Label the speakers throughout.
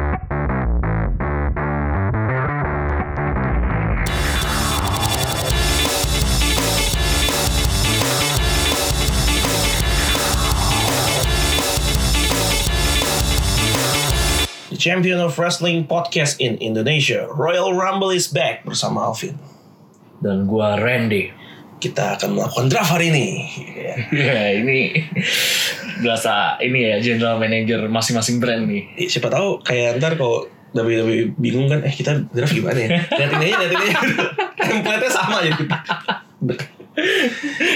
Speaker 1: The Champion of Wrestling Podcast in Indonesia, Royal Rumble is back bersama Alvin.
Speaker 2: dan gua Randy.
Speaker 1: Kita akan melakukan draft hari ini.
Speaker 2: Ya ini berasa ini ya general manager masing-masing brand nih.
Speaker 1: Ya, Siapa tahu kayak ntar kalau WWE bingung kan, eh kita draft gimana ya? Liatin aja, liatin aja. Template-nya sama ya kita.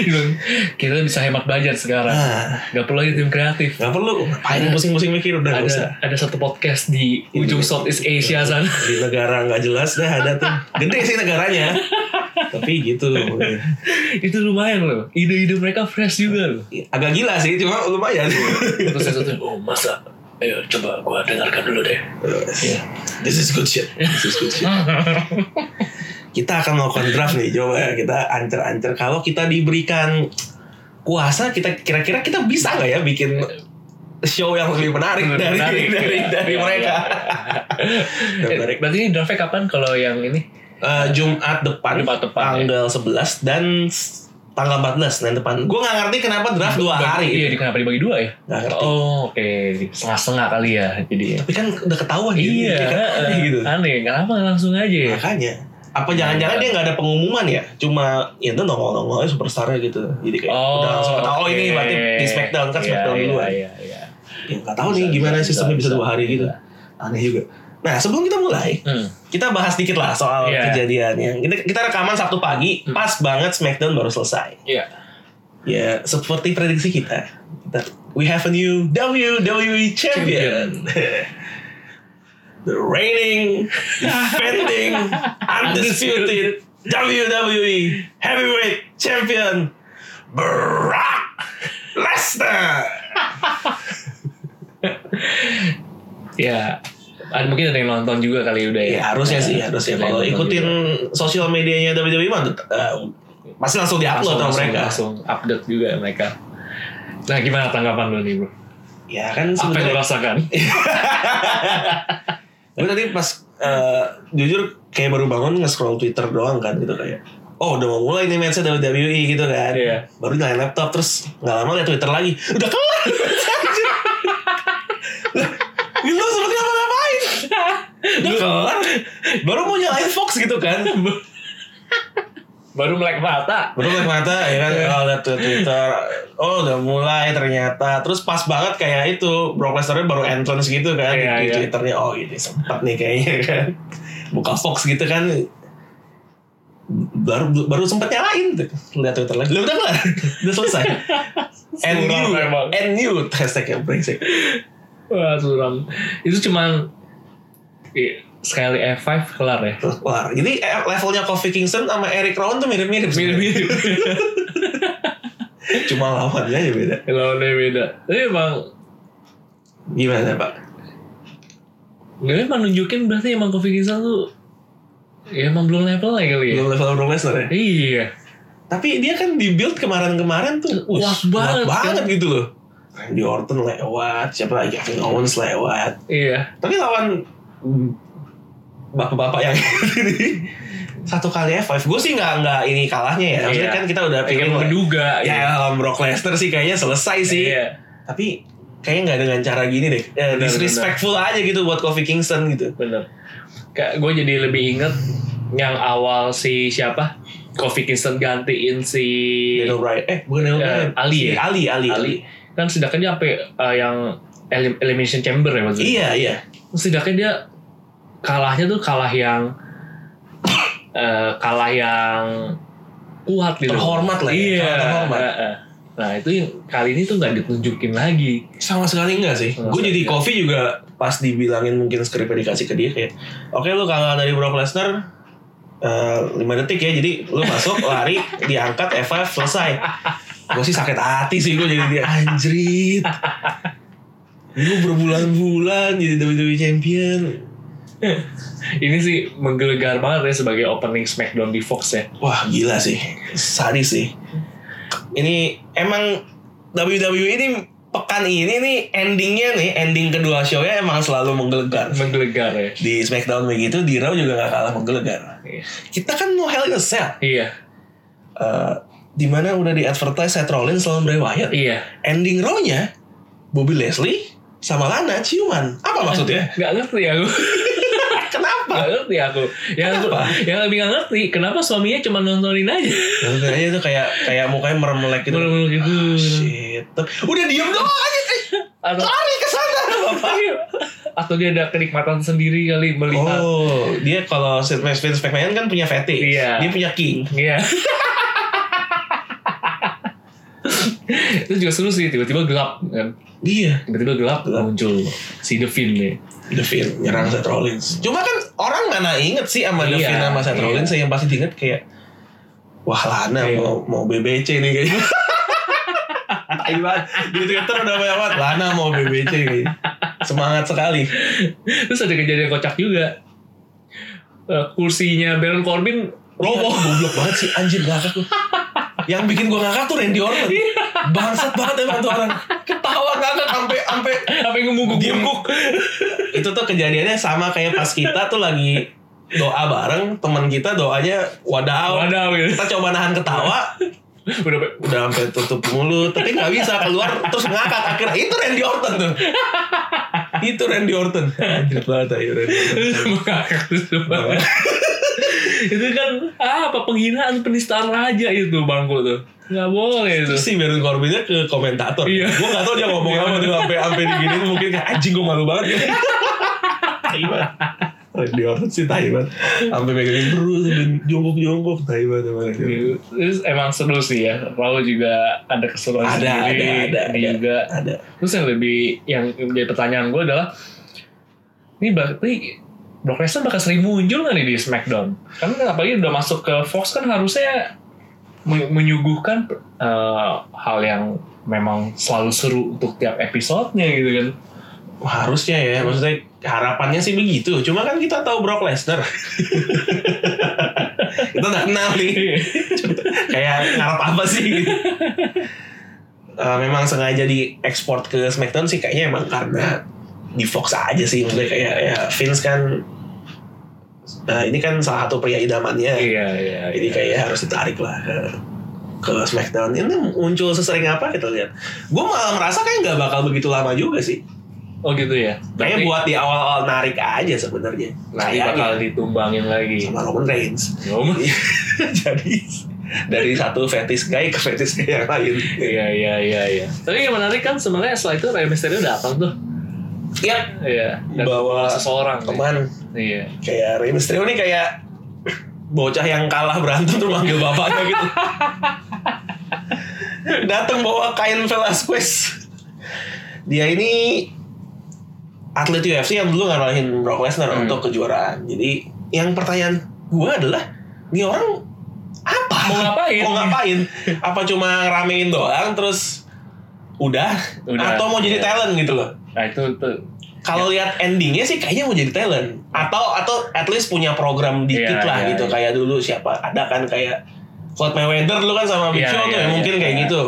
Speaker 2: Bilang, Kita bisa hemat budget sekarang.
Speaker 1: Iya. Ah,
Speaker 2: Gak perlu lagi tim kreatif.
Speaker 1: gak perlu, ngapain pusing-pusing mikir udah gak usah.
Speaker 2: Ada ada satu podcast di ujung
Speaker 1: Iya.
Speaker 2: Southeast Asia sana.
Speaker 1: Di negara nggak jelas dah ada tuh. Gede sih negaranya. Tapi gitu.
Speaker 2: Itu lumayan loh. Ide-ide mereka fresh juga loh.
Speaker 1: Agak gila sih, cuma lumayan.
Speaker 2: Terus saya satu, oh masa? Ayo coba gua dengarkan dulu deh.
Speaker 1: This is good shit. This is good shit. kita akan melakukan draft nih. Coba ya, kita ancer-ancer. Kalau kita diberikan kuasa, kita kira-kira kita bisa nggak ya bikin show yang lebih menarik
Speaker 2: Lebih
Speaker 1: dari
Speaker 2: menarik,
Speaker 1: dari,
Speaker 2: ya.
Speaker 1: dari
Speaker 2: Ya,
Speaker 1: mereka?
Speaker 2: Eh,
Speaker 1: Menarik.
Speaker 2: Berarti ini draftnya kapan kalau yang ini?
Speaker 1: Eh, Jumat depan,
Speaker 2: Jumat depan, ya.
Speaker 1: tanggal 11 dan s- tanggal 14 dan depan. Gue nggak ngerti kenapa draft dua
Speaker 2: Iya,
Speaker 1: hari. gitu.
Speaker 2: di- kenapa dibagi dua ya?
Speaker 1: Nggak ngerti.
Speaker 2: Oh, oke. Setengah-setengah kali ya. Jadi ya.
Speaker 1: Tapi kan udah ketahuan
Speaker 2: Iya,
Speaker 1: jadi kayak aneh
Speaker 2: aneh,
Speaker 1: gitu. Nah,
Speaker 2: aneh. Kenapa nggak langsung aja ya?
Speaker 1: Makanya apa jangan-jangan dia nggak ada pengumuman ya? Cuma ya itu nongol-nongol aja superstarnya gitu. Jadi kayak udah langsung ketahuan oh
Speaker 2: oke.
Speaker 1: ini berarti di SmackDown kan
Speaker 2: Iya,
Speaker 1: SmackDown
Speaker 2: iya,
Speaker 1: dulu.
Speaker 2: Iya, iya.
Speaker 1: Ya nggak tahu
Speaker 2: Bisa,
Speaker 1: nih gimana
Speaker 2: bisa,
Speaker 1: sistemnya bisa,
Speaker 2: bisa,
Speaker 1: dua hari
Speaker 2: bisa.
Speaker 1: gitu. Aneh juga. Nah sebelum kita mulai,
Speaker 2: Hmm.
Speaker 1: kita bahas dikit lah soal
Speaker 2: Iya. Hmm.
Speaker 1: kejadiannya. Kita, kita rekaman Sabtu pagi, pas banget SmackDown baru selesai.
Speaker 2: Iya.
Speaker 1: Ya seperti prediksi kita, kita we have a new WWE champion. The reigning, defending, undisputed WWE Heavyweight Champion Brock Lesnar.
Speaker 2: Iya. Ada mungkin ada yang nonton juga kali udah ya.
Speaker 1: Ya harusnya sih, harusnya
Speaker 2: ada yang
Speaker 1: kalau
Speaker 2: nonton
Speaker 1: ikutin
Speaker 2: juga.
Speaker 1: sosial medianya WWE mah eh, pasti langsung
Speaker 2: langsung,
Speaker 1: diupload sama
Speaker 2: langsung,
Speaker 1: mereka.
Speaker 2: langsung update juga mereka. Nah, gimana tanggapan lu nih, Bro?
Speaker 1: Ya kan
Speaker 2: Apa
Speaker 1: sebenarnya.
Speaker 2: yang lu
Speaker 1: Iya.
Speaker 2: rasakan?
Speaker 1: Gue tadi pas eh, jujur kayak baru bangun nge-scroll Twitter doang kan gitu kayak. Oh udah mau mulai nih matchnya WWE gitu kan.
Speaker 2: Iya.
Speaker 1: Baru nyalain laptop terus nggak lama liat Twitter lagi. Udah kelar. Anjir. Lah, Lu sempet ngapa-ngapain? Udah kelar. Baru mau nyalain Fox gitu kan.
Speaker 2: Baru melek mata.
Speaker 1: Baru liat mata ya
Speaker 2: Iya.
Speaker 1: kan kalau liat Twitter. Oh udah mulai ternyata. Terus pas banget kayak itu Brock Lesnar baru entrance gitu kan
Speaker 2: Iya,
Speaker 1: di
Speaker 2: iya.
Speaker 1: Twitternya. Oh ini sempat nih kayaknya kan. Buka Fox gitu kan. Baru baru sempat nyalain tuh. Liat Twitter lagi. Lah, Udah kelar. Udah selesai. And
Speaker 2: Suram
Speaker 1: new,
Speaker 2: emang.
Speaker 1: and new hashtagnya brengsek.
Speaker 2: Wah, suram. Itu cuman iya, sekali F5 kelar ya.
Speaker 1: Terus kelar. Jadi eh, levelnya Kofi Kingston sama Eric Rowan tuh mirip-mirip. sebenarnya.
Speaker 2: Mirip-mirip.
Speaker 1: Cuma lawannya aja beda.
Speaker 2: Lawannya beda. Tapi emang
Speaker 1: Gimana Pak?
Speaker 2: Gak emang nunjukin berarti emang Kofi Kingston tuh Ya emang belum level lah kali ya
Speaker 1: Belum level Brock Lesnar ya?
Speaker 2: Iya
Speaker 1: Tapi dia kan di build kemarin-kemarin tuh
Speaker 2: Kuat
Speaker 1: wah,
Speaker 2: banget,
Speaker 1: kuat banget
Speaker 2: kan?
Speaker 1: gitu loh. Randy Orton lewat, siapa lagi Kevin Owens lewat.
Speaker 2: Iya
Speaker 1: Tapi lawan mm, bapak-bapak yang ini satu kali F5 gue sih nggak nggak ini kalahnya ya. Maksudnya
Speaker 2: Iya.
Speaker 1: kan kita udah
Speaker 2: Kayak
Speaker 1: pilih
Speaker 2: emang menduga
Speaker 1: ya lawan Brock Lesnar sih kayaknya selesai
Speaker 2: gitu.
Speaker 1: sih.
Speaker 2: Iya
Speaker 1: Tapi kayaknya nggak dengan cara gini deh. Eh,
Speaker 2: Benar,
Speaker 1: disrespectful aja gitu buat Kofi Kingston gitu.
Speaker 2: Bener Kayak gue jadi lebih inget Yang awal si siapa Kofi Kingston gantiin si
Speaker 1: Daniel Bryan eh bukan Daniel
Speaker 2: Iya. Eh,
Speaker 1: Bryan.
Speaker 2: Ali
Speaker 1: Si
Speaker 2: ya?
Speaker 1: Ali Ali Ali.
Speaker 2: Ali Kan sedangkan dia sampai eh, yang elim- Elimination Chamber ya maksudnya
Speaker 1: Iya iya.
Speaker 2: setidaknya dia kalahnya tuh kalah yang eh, kalah yang kuat gitu
Speaker 1: Terhormat lah ya,
Speaker 2: iya
Speaker 1: kalah terhormat.
Speaker 2: eh, eh. nah itu yang kali ini tuh nggak ditunjukin lagi
Speaker 1: sama sekali enggak sih
Speaker 2: Sama
Speaker 1: gue
Speaker 2: sekali
Speaker 1: jadi
Speaker 2: enggak.
Speaker 1: Kofi juga pas dibilangin mungkin skripnya dikasih ke dia kayak oke lu kalah dari Brock Lesnar eh, lima detik ya jadi lu masuk lari diangkat F5 selesai gue sih sakit hati sih gue jadi dia anjrit Lu berbulan-bulan jadi WWE champion.
Speaker 2: Ini sih menggelegar banget ya sebagai opening Smackdown di Fox ya.
Speaker 1: Wah gila sih, sadis sih. Ini emang WWE ini pekan ini nih endingnya nih ending kedua shownya emang selalu menggelegar.
Speaker 2: Menggelegar ya.
Speaker 1: Di Smackdown begitu, di Raw juga gak kalah menggelegar.
Speaker 2: Iya.
Speaker 1: Kita kan no Hell in a Cell,
Speaker 2: Iya.
Speaker 1: Eh, di mana udah di advertise Seth Rollins lawan Bray Wyatt.
Speaker 2: Iya.
Speaker 1: Ending Raw-nya Bobby Leslie sama Lana ciuman. Apa maksudnya?
Speaker 2: Gak ngerti aku. Gak
Speaker 1: Kenapa?
Speaker 2: ngerti aku. Yang
Speaker 1: Kenapa?
Speaker 2: yang lebih gak ngerti kenapa suaminya cuma nontonin aja.
Speaker 1: Kayaknya tuh iya, kayak kayak mukanya meremelek gitu.
Speaker 2: Meremelek gitu.
Speaker 1: Ah, shit. Udah diem doang aja. eh.
Speaker 2: Atau
Speaker 1: lari ke sana bapak.
Speaker 2: Iya. Atau dia ada kenikmatan sendiri kali melihat.
Speaker 1: Oh, dia kalau Sid- Vince McMahon kan punya fetish.
Speaker 2: Iya.
Speaker 1: Dia punya king.
Speaker 2: Iya. itu juga seru sih tiba-tiba gelap kan
Speaker 1: Iya.
Speaker 2: tiba-tiba gelap,
Speaker 1: Gelap.
Speaker 2: muncul si Devin nih
Speaker 1: The Fiend nyerang Seth Rollins. Cuma kan orang mana inget sih sama The
Speaker 2: Iya,
Speaker 1: Fiend sama Seth
Speaker 2: iya.
Speaker 1: Rollins. Yang pasti diinget kayak Wah Lana
Speaker 2: Iya.
Speaker 1: mau, mau BBC nih kayaknya. Tai banget. Di Twitter udah banyak banget Lana mau BBC kayaknya. gitu. Semangat sekali.
Speaker 2: Iya. terus ada kejadian kocak juga Eh, kursinya Baron Corbin
Speaker 1: Robo
Speaker 2: roboh
Speaker 1: goblok banget sih anjir ngakak lu. Yang bikin gua ngakak tuh Randy Orton.
Speaker 2: Iya.
Speaker 1: Bangsat banget emang tuh orang. Ketawa ngakak sampai sampai
Speaker 2: apa yang ngemuguk
Speaker 1: diembuk. Itu tuh kejadiannya sama kayak pas kita tuh lagi doa bareng teman kita doanya wadaw.
Speaker 2: wadah gitu.
Speaker 1: Kita coba nahan ketawa,
Speaker 2: udah pe-
Speaker 1: udah sampai tutup mulut, tapi nggak bisa keluar terus ngakak akhirnya itu Randy Orton tuh. Itu Randy Orton. Anjir banget ayo Randy Orton.
Speaker 2: mengakak terus banget. itu kan ah, apa penghinaan penistaan raja itu bangku tuh nggak boleh itu
Speaker 1: Terus si Baron Corbinnya ke komentator.
Speaker 2: Iya.
Speaker 1: Gue gak tau dia ngomong apa tuh sampai sampai digini mungkin kayak anjing gue malu banget. gitu. Tai banget. Randy Orton sih tai banget. Sampai megangin perut sampai jongkok-jongkok tai banget emang.
Speaker 2: Terus emang seru sih ya. Raul juga ada keseruan
Speaker 1: Ada, ada,
Speaker 2: sendiri.
Speaker 1: ada,
Speaker 2: ini
Speaker 1: ada.
Speaker 2: juga.
Speaker 1: Ada.
Speaker 2: Terus yang lebih yang menjadi pertanyaan gue adalah ini berarti Brock Lesnar bakal sering muncul nggak nih di SmackDown? Karena apalagi udah masuk ke Fox kan harusnya men- menyuguhkan eh, hal yang memang selalu seru untuk tiap episodenya gitu kan.
Speaker 1: Harusnya ya, maksudnya harapannya sih begitu. Cuma kan kita tahu Brock Lesnar. kita udah kenal nih. Kayak ngarep apa sih gitu. Eh, memang sengaja diekspor ke Smackdown sih kayaknya emang karena di Fox aja sih maksudnya kayak ya Vince kan nah ini kan salah satu pria idamannya
Speaker 2: iya, iya.
Speaker 1: jadi
Speaker 2: iya.
Speaker 1: kayaknya harus ditarik lah ke, ke Smackdown ini muncul sesering apa kita lihat gue malah merasa kayak nggak bakal begitu lama juga sih
Speaker 2: Oh gitu ya.
Speaker 1: kayaknya
Speaker 2: Berarti
Speaker 1: buat di awal-awal narik aja sebenarnya
Speaker 2: nanti
Speaker 1: Kayaknya.
Speaker 2: bakal ditumbangin lagi.
Speaker 1: sama Roman Reigns
Speaker 2: Ngomong.
Speaker 1: jadi dari satu fetish guy ke fetish guy yang lain
Speaker 2: Iya iya iya iya. Tapi yang menarik kan sebenarnya setelah itu Rey Mysterio datang tuh.
Speaker 1: ya
Speaker 2: Iya. Dan
Speaker 1: bawa
Speaker 2: seseorang.
Speaker 1: teman
Speaker 2: Iya.
Speaker 1: kayak Rey Mysterio nih kayak bocah yang kalah berantem terus manggil bapaknya gitu. Datang bawa kain Velasquez. Dia ini atlet UFC yang dulu ngalahin Brock Lesnar
Speaker 2: Hmm.
Speaker 1: untuk kejuaraan. Jadi yang pertanyaan gua adalah, ini orang apa?
Speaker 2: Mau ngapain?
Speaker 1: mau ngapain? apa cuma ramein doang terus udah,
Speaker 2: Udah.
Speaker 1: atau mau jadi
Speaker 2: Iya.
Speaker 1: talent gitu loh?
Speaker 2: Nah itu tuh. Ya.
Speaker 1: Kalau lihat endingnya sih kayaknya mau jadi talent atau atau at least punya program dikit
Speaker 2: Iya,
Speaker 1: lah
Speaker 2: iya,
Speaker 1: gitu
Speaker 2: iya.
Speaker 1: kayak dulu siapa ada kan kayak Floyd Mayweather dulu kan sama Big
Speaker 2: Iya,
Speaker 1: Show tuh
Speaker 2: iya,
Speaker 1: ya,
Speaker 2: iya,
Speaker 1: mungkin kayak
Speaker 2: iya.
Speaker 1: gitu.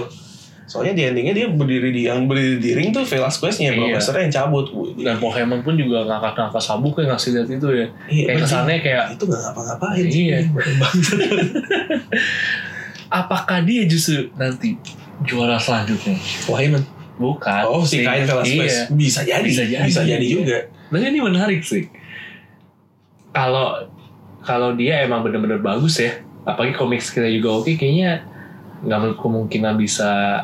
Speaker 1: Soalnya di endingnya dia berdiri di yang berdiri di ring tuh Velasquez-nya
Speaker 2: Iya. Nah,
Speaker 1: Brock Lesnar yang cabut. Wih,
Speaker 2: Dan Paul Heyman pun juga ngangkat-ngangkat sabuk ya ngasih lihat itu ya.
Speaker 1: Iya,
Speaker 2: kayak
Speaker 1: bener.
Speaker 2: kesannya kayak
Speaker 1: Itu gak ngapa-ngapain
Speaker 2: Iya.
Speaker 1: Bangsat.
Speaker 2: apakah dia justru nanti juara selanjutnya?
Speaker 1: Wah, Iman.
Speaker 2: Bukan.
Speaker 1: Oh, si kain
Speaker 2: Iya.
Speaker 1: Velasquez. Bisa jadi.
Speaker 2: Bisa jadi.
Speaker 1: Bisa jadi juga.
Speaker 2: Tapi ini menarik sih. Kalau kalau dia emang bener-bener bagus ya, apalagi komik kita juga oke, kayaknya nggak menurut kemungkinan bisa,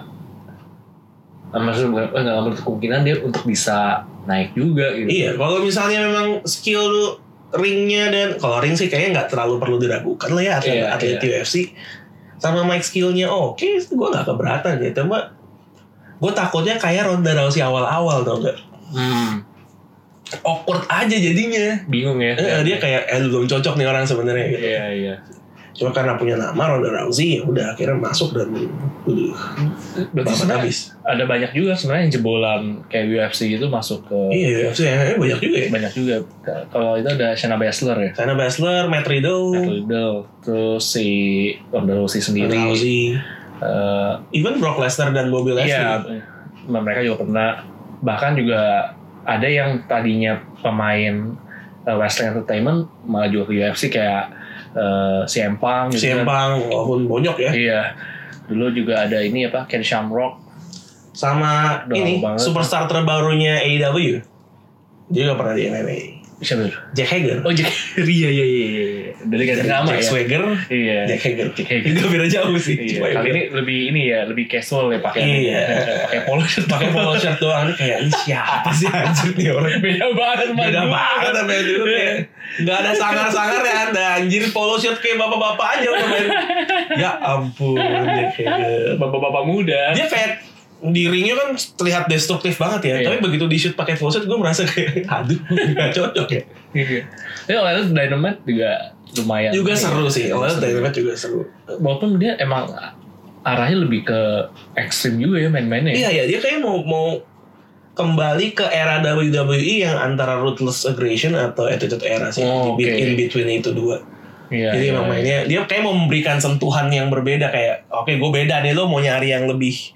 Speaker 2: eh, maksudnya bukan- eh, nggak menurut kemungkinan dia untuk bisa naik juga gitu.
Speaker 1: Iya, kalau misalnya memang skill lu ringnya dan kalau ring sih kayaknya nggak terlalu perlu diragukan lah ya atlet,
Speaker 2: Iya,
Speaker 1: atlet UFC sama mic skillnya oke, gue nggak keberatan ya. Cuma gue takutnya kayak Ronda Rousey awal-awal tau gak?
Speaker 2: Hmm,
Speaker 1: Awkward aja jadinya.
Speaker 2: bingung ya.
Speaker 1: Eh, dia kayak eh, belum cocok nih orang sebenarnya. gitu.
Speaker 2: Iya iya.
Speaker 1: Cuma karena punya nama Ronda Rousey ya udah akhirnya masuk dan uh,
Speaker 2: Berarti
Speaker 1: babat
Speaker 2: sebenarnya
Speaker 1: habis.
Speaker 2: ada banyak juga sebenarnya yang jebolan kayak UFC gitu masuk ke
Speaker 1: Iya, UFC ya, eh, banyak juga ya.
Speaker 2: banyak juga. K- Kalau itu ada Shayna Baszler ya.
Speaker 1: Sana Basler, Matt
Speaker 2: Matt
Speaker 1: Riddle,
Speaker 2: Riddle, terus si Ronda Rousey
Speaker 1: Ronda
Speaker 2: sendiri.
Speaker 1: Rousey,
Speaker 2: Eh,
Speaker 1: even Brock Lesnar dan Bobby
Speaker 2: Iya,
Speaker 1: Lesnar.
Speaker 2: mereka juga pernah. Bahkan juga ada yang tadinya pemain eh, wrestling entertainment malah juga ke UFC kayak eh, CM Punk
Speaker 1: Si
Speaker 2: gitu kan.
Speaker 1: Empang walaupun bonyok ya.
Speaker 2: Iya. Dulu juga ada ini apa Ken Shamrock.
Speaker 1: Sama
Speaker 2: Udah
Speaker 1: ini
Speaker 2: lama banget.
Speaker 1: superstar terbarunya AEW. Dia gak pernah di MMA.
Speaker 2: Siapa itu?
Speaker 1: Jack Hager.
Speaker 2: Oh Jack. Iya iya iya. iya. Dari ganti
Speaker 1: Dari
Speaker 2: nama
Speaker 1: Jack
Speaker 2: ya.
Speaker 1: Swagger,
Speaker 2: Iya.
Speaker 1: Jack Hager.
Speaker 2: Jack Hager.
Speaker 1: Itu beda jauh sih.
Speaker 2: Iya,
Speaker 1: Cuma ya
Speaker 2: kali
Speaker 1: udah.
Speaker 2: ini lebih ini ya, lebih casual ya pakai
Speaker 1: Iya.
Speaker 2: pakai polo shirt,
Speaker 1: pakai polo shirt doang ini kayak ini siapa sih anjir nih orang.
Speaker 2: Beda banget sama
Speaker 1: Beda
Speaker 2: gua.
Speaker 1: banget sama yang dulu kayak nggak ada sangar-sangar ya ada anjir polo shirt kayak bapak-bapak aja udah main. Ya ampun Jack Hager.
Speaker 2: Bapak-bapak muda.
Speaker 1: Dia kayak di ringnya kan terlihat destruktif banget ya,
Speaker 2: Iya.
Speaker 1: tapi begitu di shoot pakai full shirt gue merasa kayak aduh gak cocok ya.
Speaker 2: Iya. Tapi oleh itu Dynamite juga lumayan.
Speaker 1: juga seru sih
Speaker 2: Iya,
Speaker 1: awalnya
Speaker 2: seru.
Speaker 1: Dynamite juga seru
Speaker 2: Walaupun dia emang arahnya lebih ke ekstrim juga ya main-mainnya.
Speaker 1: iya iya dia kayak mau mau kembali ke era WWE yang antara ruthless aggression atau attitude era sih
Speaker 2: Oh,
Speaker 1: Di-
Speaker 2: oke.
Speaker 1: in between itu dua
Speaker 2: Iya.
Speaker 1: jadi
Speaker 2: iya.
Speaker 1: emang mainnya dia kayak mau memberikan sentuhan yang berbeda kayak oke gue beda nih lo mau nyari yang lebih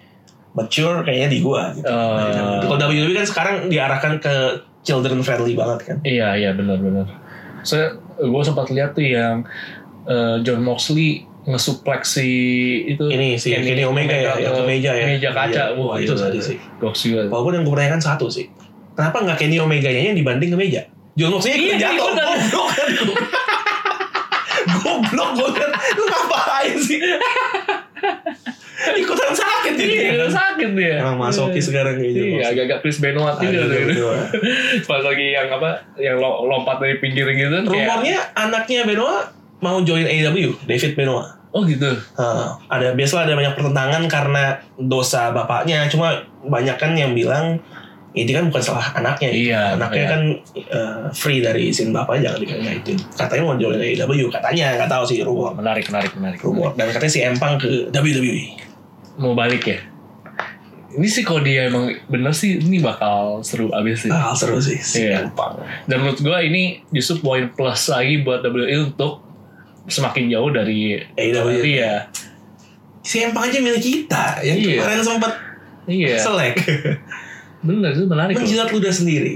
Speaker 1: mature kayaknya di gua gitu.
Speaker 2: Eh.
Speaker 1: kalau WWE kan sekarang diarahkan ke children friendly banget kan
Speaker 2: Iya iya benar-benar. Saya gue sempat lihat tuh yang eh, John Moxley ngesuplex si itu
Speaker 1: ini sih
Speaker 2: Kenny
Speaker 1: ini Omega, ya
Speaker 2: ke
Speaker 1: yang ke meja ya
Speaker 2: meja iya, kaca
Speaker 1: Iya.
Speaker 2: wah
Speaker 1: itu
Speaker 2: gila.
Speaker 1: tadi sih
Speaker 2: Goks juga
Speaker 1: Walaupun yang gue pertanyakan satu sih. Kenapa nggak Kenny Omeganya yang dibanding ke meja? John Moxley ikut
Speaker 2: Iya,
Speaker 1: jatuh.
Speaker 2: ikutan.
Speaker 1: Goblok kan. Goblok gue kan. Lu ngapain sih? Ikutan sakit jadi.
Speaker 2: Iya,
Speaker 1: kan?
Speaker 2: sakit dia.
Speaker 1: Emang masokis sekarang gitu, kayaknya,
Speaker 2: Iya, gitu.
Speaker 1: Moxley.
Speaker 2: agak-agak Chris Benoit juga.
Speaker 1: Agak-agak
Speaker 2: tuh.
Speaker 1: Benoit.
Speaker 2: Pas lagi yang apa, yang lo- lompat dari pinggir gitu. kan kayak-
Speaker 1: Rumornya anaknya Benoit mau join AEW, David Benoit.
Speaker 2: Oh gitu.
Speaker 1: Nah, ada biasanya ada banyak pertentangan karena dosa bapaknya. Cuma banyak kan yang bilang ini kan bukan salah anaknya.
Speaker 2: Iya,
Speaker 1: anaknya
Speaker 2: iya.
Speaker 1: kan eh, free dari izin bapak jangan dikaitin. Katanya mau join AEW, katanya nggak tahu sih rumor.
Speaker 2: Menarik, menarik, menarik.
Speaker 1: Rumor dan katanya si Empang ke E. WWE.
Speaker 2: Mau balik ya? Ini sih kalau dia emang bener sih, ini bakal seru abis sih.
Speaker 1: Ah, seru sih si
Speaker 2: Iya.
Speaker 1: Empang.
Speaker 2: Dan menurut gue ini justru poin plus lagi buat WWE untuk semakin jauh dari
Speaker 1: Eh, AEW.
Speaker 2: Iya.
Speaker 1: E. Si Empang aja milik kita yang
Speaker 2: Iya.
Speaker 1: kemarin sempat
Speaker 2: Iya.
Speaker 1: selek.
Speaker 2: Bener, itu menarik. loh.
Speaker 1: Menjilat ludah sendiri.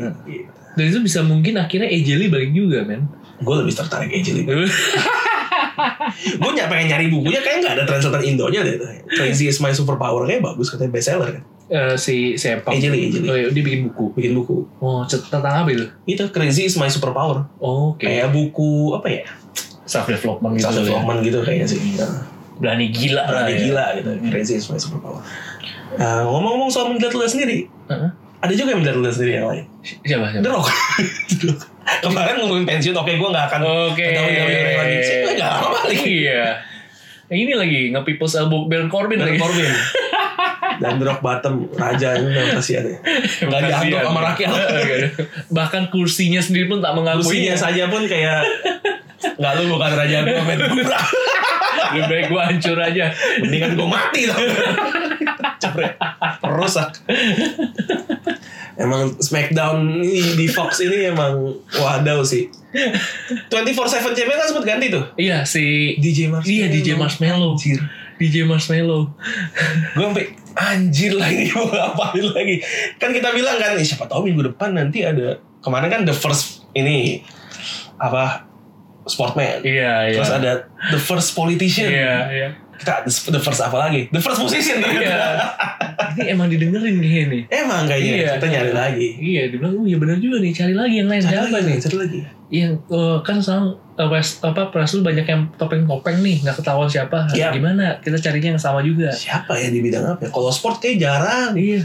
Speaker 2: Dan itu bisa mungkin akhirnya AJ Lee balik juga, men.
Speaker 1: Gue lebih tertarik AJ Lee. gue nyak pengen nyari bukunya kayak nggak ada translatan Indonya deh Crazy is my superpower kayak bagus katanya bestseller kan
Speaker 2: Eh, si siapa?
Speaker 1: AJ Lee, AJ Lee.
Speaker 2: Oh, iya, dia bikin buku.
Speaker 1: bikin buku
Speaker 2: Oh, cet- tentang apa itu?
Speaker 1: itu Crazy is my superpower
Speaker 2: Oh, Oke.
Speaker 1: kayak buku apa ya
Speaker 2: Self development gitu.
Speaker 1: self
Speaker 2: Ya. Iya.
Speaker 1: development gitu kayaknya sih Nah,
Speaker 2: Berani gila lah.
Speaker 1: berani
Speaker 2: ya.
Speaker 1: gila gitu Crazy is my superpower Nah, ngomong-ngomong soal melihat ludah sendiri
Speaker 2: Heeh.
Speaker 1: ada juga yang melihat ludah sendiri yang lain
Speaker 2: Si- Siapa siapa?
Speaker 1: The Rock The Rock. kemarin ngomongin pensiun oke gue gak akan
Speaker 2: Oke.
Speaker 1: ke WWE lagi sih gue gak akan balik
Speaker 2: Iya. Ini lagi ngepipus elbow Baron Corbin
Speaker 1: dan
Speaker 2: lagi.
Speaker 1: Corbin dan The Rock Bottom raja ini memang kasihan ya gak dianggap
Speaker 2: Kasihan.
Speaker 1: sama rakyat
Speaker 2: Oke. Bahkan kursinya sendiri pun tak mengakui.
Speaker 1: Kursinya saja pun kayak nggak lu bukan raja gue men Gubrak.
Speaker 2: Lebih baik gua hancur aja.
Speaker 1: Mendingan gue mati tau Capek Rusak Emang Smackdown ini di Fox ini emang Wadaw sih 24-7 champion kan sempet ganti tuh
Speaker 2: Iya si
Speaker 1: DJ Marshmallow
Speaker 2: Iya DJ Marshmallow. DJ Marshmallow.
Speaker 1: Gue sampe anjir lah ini mau ngapain lagi Kan kita bilang kan "Ih, siapa tahu minggu depan nanti ada Kemarin kan the first ini Apa Sportman
Speaker 2: Iya iya.
Speaker 1: Terus ada the first politician.
Speaker 2: Iya iya.
Speaker 1: Kita the first apa lagi? The first musician
Speaker 2: Iya.
Speaker 1: ternyata.
Speaker 2: Ini emang didengerin nih ini.
Speaker 1: Emang kayaknya
Speaker 2: Iya.
Speaker 1: kita nyari lagi.
Speaker 2: Iya, dibilang, oh iya benar juga nih, cari lagi yang lain.
Speaker 1: Cari
Speaker 2: Siapa
Speaker 1: lagi
Speaker 2: nih?
Speaker 1: nih, cari lagi.
Speaker 2: yang eh, kan sekarang eh, West apa Presul banyak yang topeng-topeng nih nggak ketahuan siapa Nah,
Speaker 1: Iya.
Speaker 2: gimana kita carinya yang sama juga
Speaker 1: Siapa ya di bidang apa? ya? Kalau sport kayak jarang.
Speaker 2: iya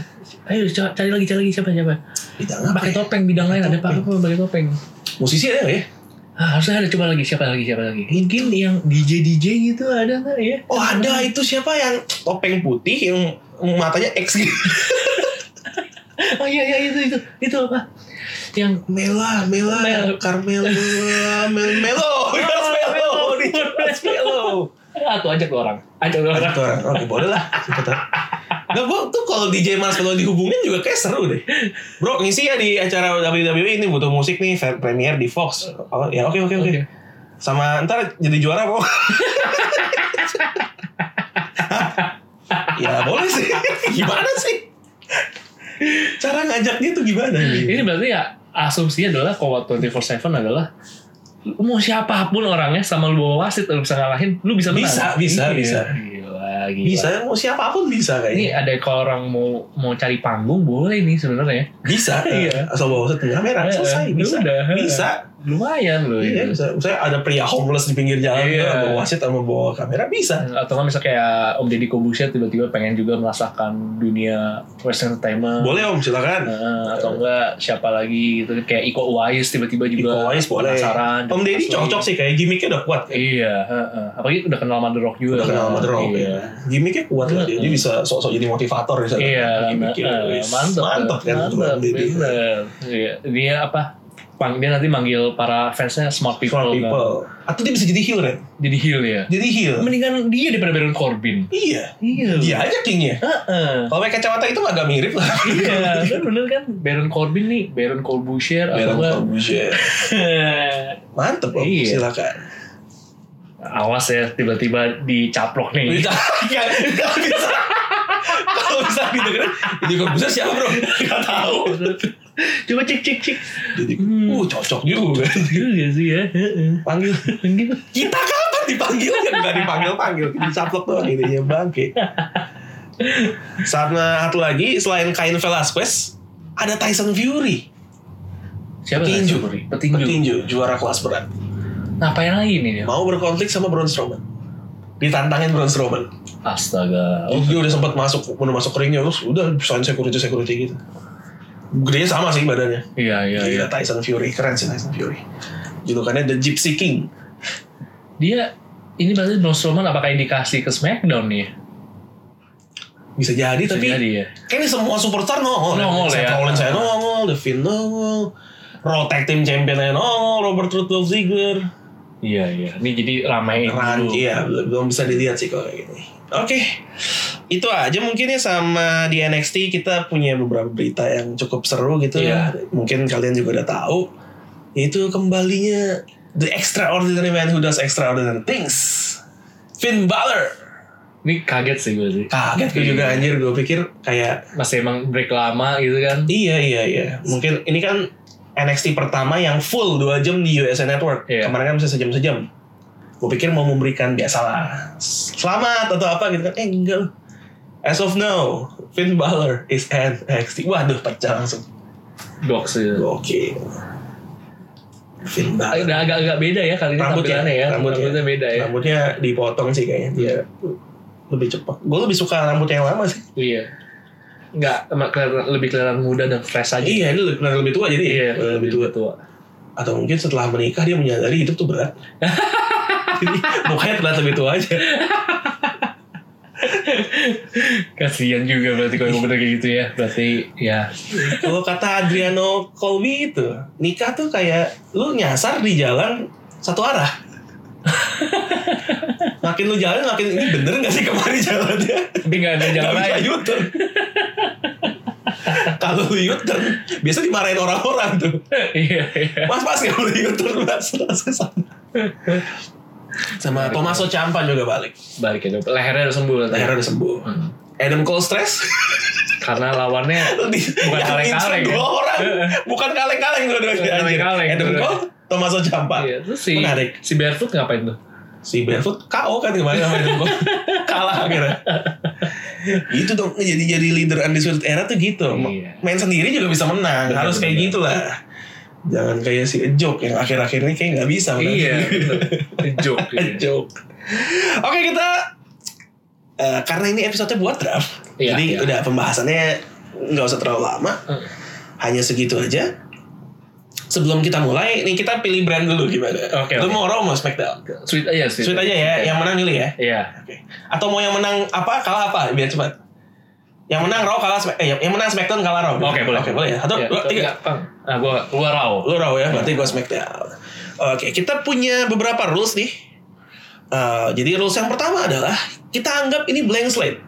Speaker 2: ayo ca- cari lagi cari lagi siapa siapa
Speaker 1: Bidang apa?
Speaker 2: pakai
Speaker 1: ya?
Speaker 2: topeng bidang lain ada pakai apa pakai topeng
Speaker 1: Musisi ada nggak ya?
Speaker 2: ah, harusnya ada coba lagi siapa lagi siapa lagi mungkin yang DJ DJ gitu ada nggak ya
Speaker 1: Oh ada itu siapa yang topeng putih yang matanya X gitu.
Speaker 2: oh iya iya itu itu itu apa yang
Speaker 1: Mela, Mela,
Speaker 2: Mel.
Speaker 1: Carmela, Mel, Melo, Carmelo,
Speaker 2: Ah, Melo.
Speaker 1: Di- Let's Pillow.
Speaker 2: Ah, tuh ajak lu orang. Ajak lu orang.
Speaker 1: Ajak tuh orang. Oke, boleh lah. Siapa tahu. Nah, gue tuh kalau DJ Mas kalau dihubungin juga kayak seru deh. Bro, ngisi ya di acara WWE ini butuh musik nih, fair premiere di Fox. Oh, ya oke oke oke.
Speaker 2: Oke.
Speaker 1: Sama ntar jadi juara kok. ya boleh sih. gimana sih? Cara ngajaknya tuh gimana nih?
Speaker 2: Ini berarti ya asumsinya adalah kalau 24/7 adalah lu mau siapapun orangnya sama lu bawa wasit lu bisa ngalahin, lu bisa menang.
Speaker 1: Bisa, bisa,
Speaker 2: Iya.
Speaker 1: bisa.
Speaker 2: Gila, gila.
Speaker 1: Bisa, mau siapapun bisa kayaknya.
Speaker 2: Ini ada kalau orang mau mau cari panggung boleh nih sebenarnya.
Speaker 1: Bisa.
Speaker 2: Iya.
Speaker 1: Asal bawa satu kamera, Nah, selesai.
Speaker 2: Eh,
Speaker 1: Bisa.
Speaker 2: udah.
Speaker 1: Bisa.
Speaker 2: Lumayan loh.
Speaker 1: Iya,
Speaker 2: itu.
Speaker 1: bisa. Misalnya ada pria homeless di pinggir jalan,
Speaker 2: Iya.
Speaker 1: kita bawa wasit sama bawa kamera, bisa.
Speaker 2: atau nggak misalnya kayak Om Deddy Kobusya tiba-tiba pengen juga merasakan dunia Western Entertainment
Speaker 1: Boleh om, silakan.
Speaker 2: Nah, atau enggak siapa lagi gitu kayak Iko Uwais tiba-tiba juga
Speaker 1: Iko Uwais boleh.
Speaker 2: penasaran
Speaker 1: Om Deddy
Speaker 2: Asli.
Speaker 1: cocok sih, kayak gimmicknya udah kuat.
Speaker 2: iya heeh. apalagi udah kenal Mother Rock juga
Speaker 1: Udah kenal
Speaker 2: kan?
Speaker 1: sama The Rock,
Speaker 2: iya
Speaker 1: ya. Gimmicknya kuat lah dia. Dia bisa sok-sok jadi motivator. Misalnya.
Speaker 2: iya
Speaker 1: Gimmicknya,
Speaker 2: heeh.
Speaker 1: wis.
Speaker 2: mantep
Speaker 1: Mantep kan.
Speaker 2: mantep,
Speaker 1: Om Deddy.
Speaker 2: bener iya dia apa Pang- dia nanti manggil para fansnya smart people,
Speaker 1: Smart
Speaker 2: kan?
Speaker 1: people. Atau dia bisa jadi heel, Ren.
Speaker 2: jadi heel ya
Speaker 1: Jadi heel.
Speaker 2: mendingan dia daripada Baron Corbin
Speaker 1: Iya.
Speaker 2: iya
Speaker 1: Dia aja kingnya.
Speaker 2: Heeh.
Speaker 1: Kalau pakai kacamata itu agak mirip lah.
Speaker 2: Iya, kan bener kan Baron Corbin nih, Baron Corbusier atau
Speaker 1: Baron
Speaker 2: enggak?
Speaker 1: Corbusier. oh, Mantep om,
Speaker 2: Iya.
Speaker 1: silakan.
Speaker 2: Awas ya tiba-tiba dicaplok nih.
Speaker 1: Bisa, nggak nggak bisa. Kalau bisa didengerin, jadi Corbusier siapa bro? Gak tahu.
Speaker 2: Coba cek cek cek.
Speaker 1: Jadi,
Speaker 2: Hmm.
Speaker 1: uh cocok juga.
Speaker 2: Juga sih ya. heeh.
Speaker 1: Panggil.
Speaker 2: Gitu.
Speaker 1: Kita kapan dipanggil? Ya nggak dipanggil panggil, dicaplok doang gitu ya bangke. Sama satu lagi selain Cain Velasquez, ada Tyson Fury,
Speaker 2: Siapa
Speaker 1: petinju,
Speaker 2: Nasiburi? Petinju.
Speaker 1: juara kelas berat.
Speaker 2: Ngapain lagi nih dia?
Speaker 1: Mau berkonflik sama Braun Strowman, ditantangin Braun Strowman.
Speaker 2: Astaga. Oh,
Speaker 1: Jadi dia udah sempat masuk, udah masuk keringnya terus udah sign security security gitu. Gedenya sama sih badannya.
Speaker 2: Iya iya iya.
Speaker 1: Gila, Tyson Fury keren sih Tyson Fury. Julukannya The Gypsy King.
Speaker 2: Dia ini berarti Braun Strowman apakah indikasi ke Smackdown nih?
Speaker 1: Bisa jadi
Speaker 2: Bisa
Speaker 1: tapi
Speaker 2: jadi ya.
Speaker 1: kayaknya semua superstar nongol.
Speaker 2: Nongol
Speaker 1: Seth
Speaker 2: ya.
Speaker 1: Rollins saya nongol, The Finn nongol, Raw Tag Team Champion saya nongol, Robert Roode Dolph Ziggler.
Speaker 2: Iya iya. Ini jadi ramai
Speaker 1: Keren,
Speaker 2: dulu.
Speaker 1: iya belum belum bisa dilihat sih kalau kayak gini. Oke, itu aja mungkin ya sama di NXT kita punya beberapa berita yang cukup seru gitu.
Speaker 2: Iya.
Speaker 1: Mungkin kalian juga udah tahu. Yaitu kembalinya The Extraordinary Man Who Does Extraordinary Things, Finn Balor.
Speaker 2: Ini kaget sih gue sih.
Speaker 1: Kaget gue
Speaker 2: Hmm.
Speaker 1: juga anjir, gue pikir kayak
Speaker 2: Masih emang break lama gitu kan.
Speaker 1: iya iya iya. Mungkin ini kan NXT pertama yang full 2 jam di USA Network.
Speaker 2: Iya.
Speaker 1: Kemarin kan bisa sejam-sejam. Gue pikir mau memberikan biasalah selamat atau apa gitu kan. Eh enggak loh. As of now, Finn Balor is NXT. Waduh, pecah langsung.
Speaker 2: Box gitu.
Speaker 1: Oke. Finn Balor.
Speaker 2: Udah agak-agak beda ya kali ini
Speaker 1: Rambutnya,
Speaker 2: tampilannya ya.
Speaker 1: rambutnya.
Speaker 2: beda ya.
Speaker 1: Rambutnya dipotong sih kayaknya. Dia lebih cepat. Gue lebih suka rambut yang lama sih.
Speaker 2: Iya. Enggak, emang kelihatan- lebih kelihatan muda dan fresh aja. Iya,
Speaker 1: Iya, ini lebih, lebih tua jadi. ya? lebih tua.
Speaker 2: tua.
Speaker 1: atau mungkin setelah menikah dia menyadari hidup tuh berat jadi mukanya terlihat lebih tua aja
Speaker 2: Kasihan juga berarti kalau emang bener kayak gitu ya. Berarti ya.
Speaker 1: kalau kata Adriano Colby itu nikah tuh kayak lu nyasar di jalan satu arah makin lu jalan makin ini bener gak sih kemarin jalannya
Speaker 2: Tapi nggak ada jalan
Speaker 1: Gak bisa
Speaker 2: lain.
Speaker 1: U-turn kalau lu U-turn biasa dimarahin orang-orang tuh
Speaker 2: Iya, iya.
Speaker 1: mas mas kalau lu U-turn mas mas kesana sama Tomaso Ciampa juga balik
Speaker 2: Balik itu. Lehernya udah sembuh. ternyata.
Speaker 1: akhirnya udah sembuh
Speaker 2: Hmm.
Speaker 1: Adam Cole stress
Speaker 2: Karena lawannya
Speaker 1: Di-
Speaker 2: bukan
Speaker 1: yang
Speaker 2: kaleng-kaleng.
Speaker 1: insert
Speaker 2: ya.
Speaker 1: dua orang
Speaker 2: Heeh.
Speaker 1: bukan kaleng-kaleng dua-duanya
Speaker 2: Bukan
Speaker 1: anjir
Speaker 2: kaleng-kaleng.
Speaker 1: Adam Cole Tomaso Ciampa
Speaker 2: Iya, terus si,
Speaker 1: Menarik.
Speaker 2: si Barefoot ngapain tuh?
Speaker 1: si Barefoot KO kan kemarin sama Adam Cole kalah akhirnya itu dong jadi jadi leader undisputed era tuh gitu
Speaker 2: Iya.
Speaker 1: main sendiri juga bisa menang
Speaker 2: Benar,
Speaker 1: harus kayak
Speaker 2: benar.
Speaker 1: gitulah jangan kayak si Ejok yang akhir-akhir ini kayak nggak bisa menang
Speaker 2: Iya,
Speaker 1: sendiri.
Speaker 2: betul. Joke.
Speaker 1: A
Speaker 2: iya.
Speaker 1: joke. Oke kita eh, karena ini episode buat draft,
Speaker 2: Iya,
Speaker 1: jadi
Speaker 2: iya.
Speaker 1: udah pembahasannya nggak usah terlalu lama,
Speaker 2: Hmm.
Speaker 1: hanya segitu aja. Sebelum kita mulai, nih kita pilih brand dulu gimana?
Speaker 2: Oke,
Speaker 1: Lu
Speaker 2: oke.
Speaker 1: mau Raw mau SmackDown?
Speaker 2: Sweet aja, sweet.
Speaker 1: Sweet aja ya, yang menang milih ya.
Speaker 2: Iya.
Speaker 1: Oke. Atau mau yang menang apa kalah apa? Biar cepat. Yang menang Raw kalah Smack- eh, yang menang SmackDown kalah Raw.
Speaker 2: Oke, boleh.
Speaker 1: Oke boleh ya. Satu,
Speaker 2: Iya,
Speaker 1: dua, tiga. ya,
Speaker 2: nggak, Bang. Ah, gua keluar raw.
Speaker 1: Lu Raw ya, berarti gua SmackDown. Oke, kita punya beberapa rules nih. Eh, jadi rules yang pertama adalah kita anggap ini blank slate.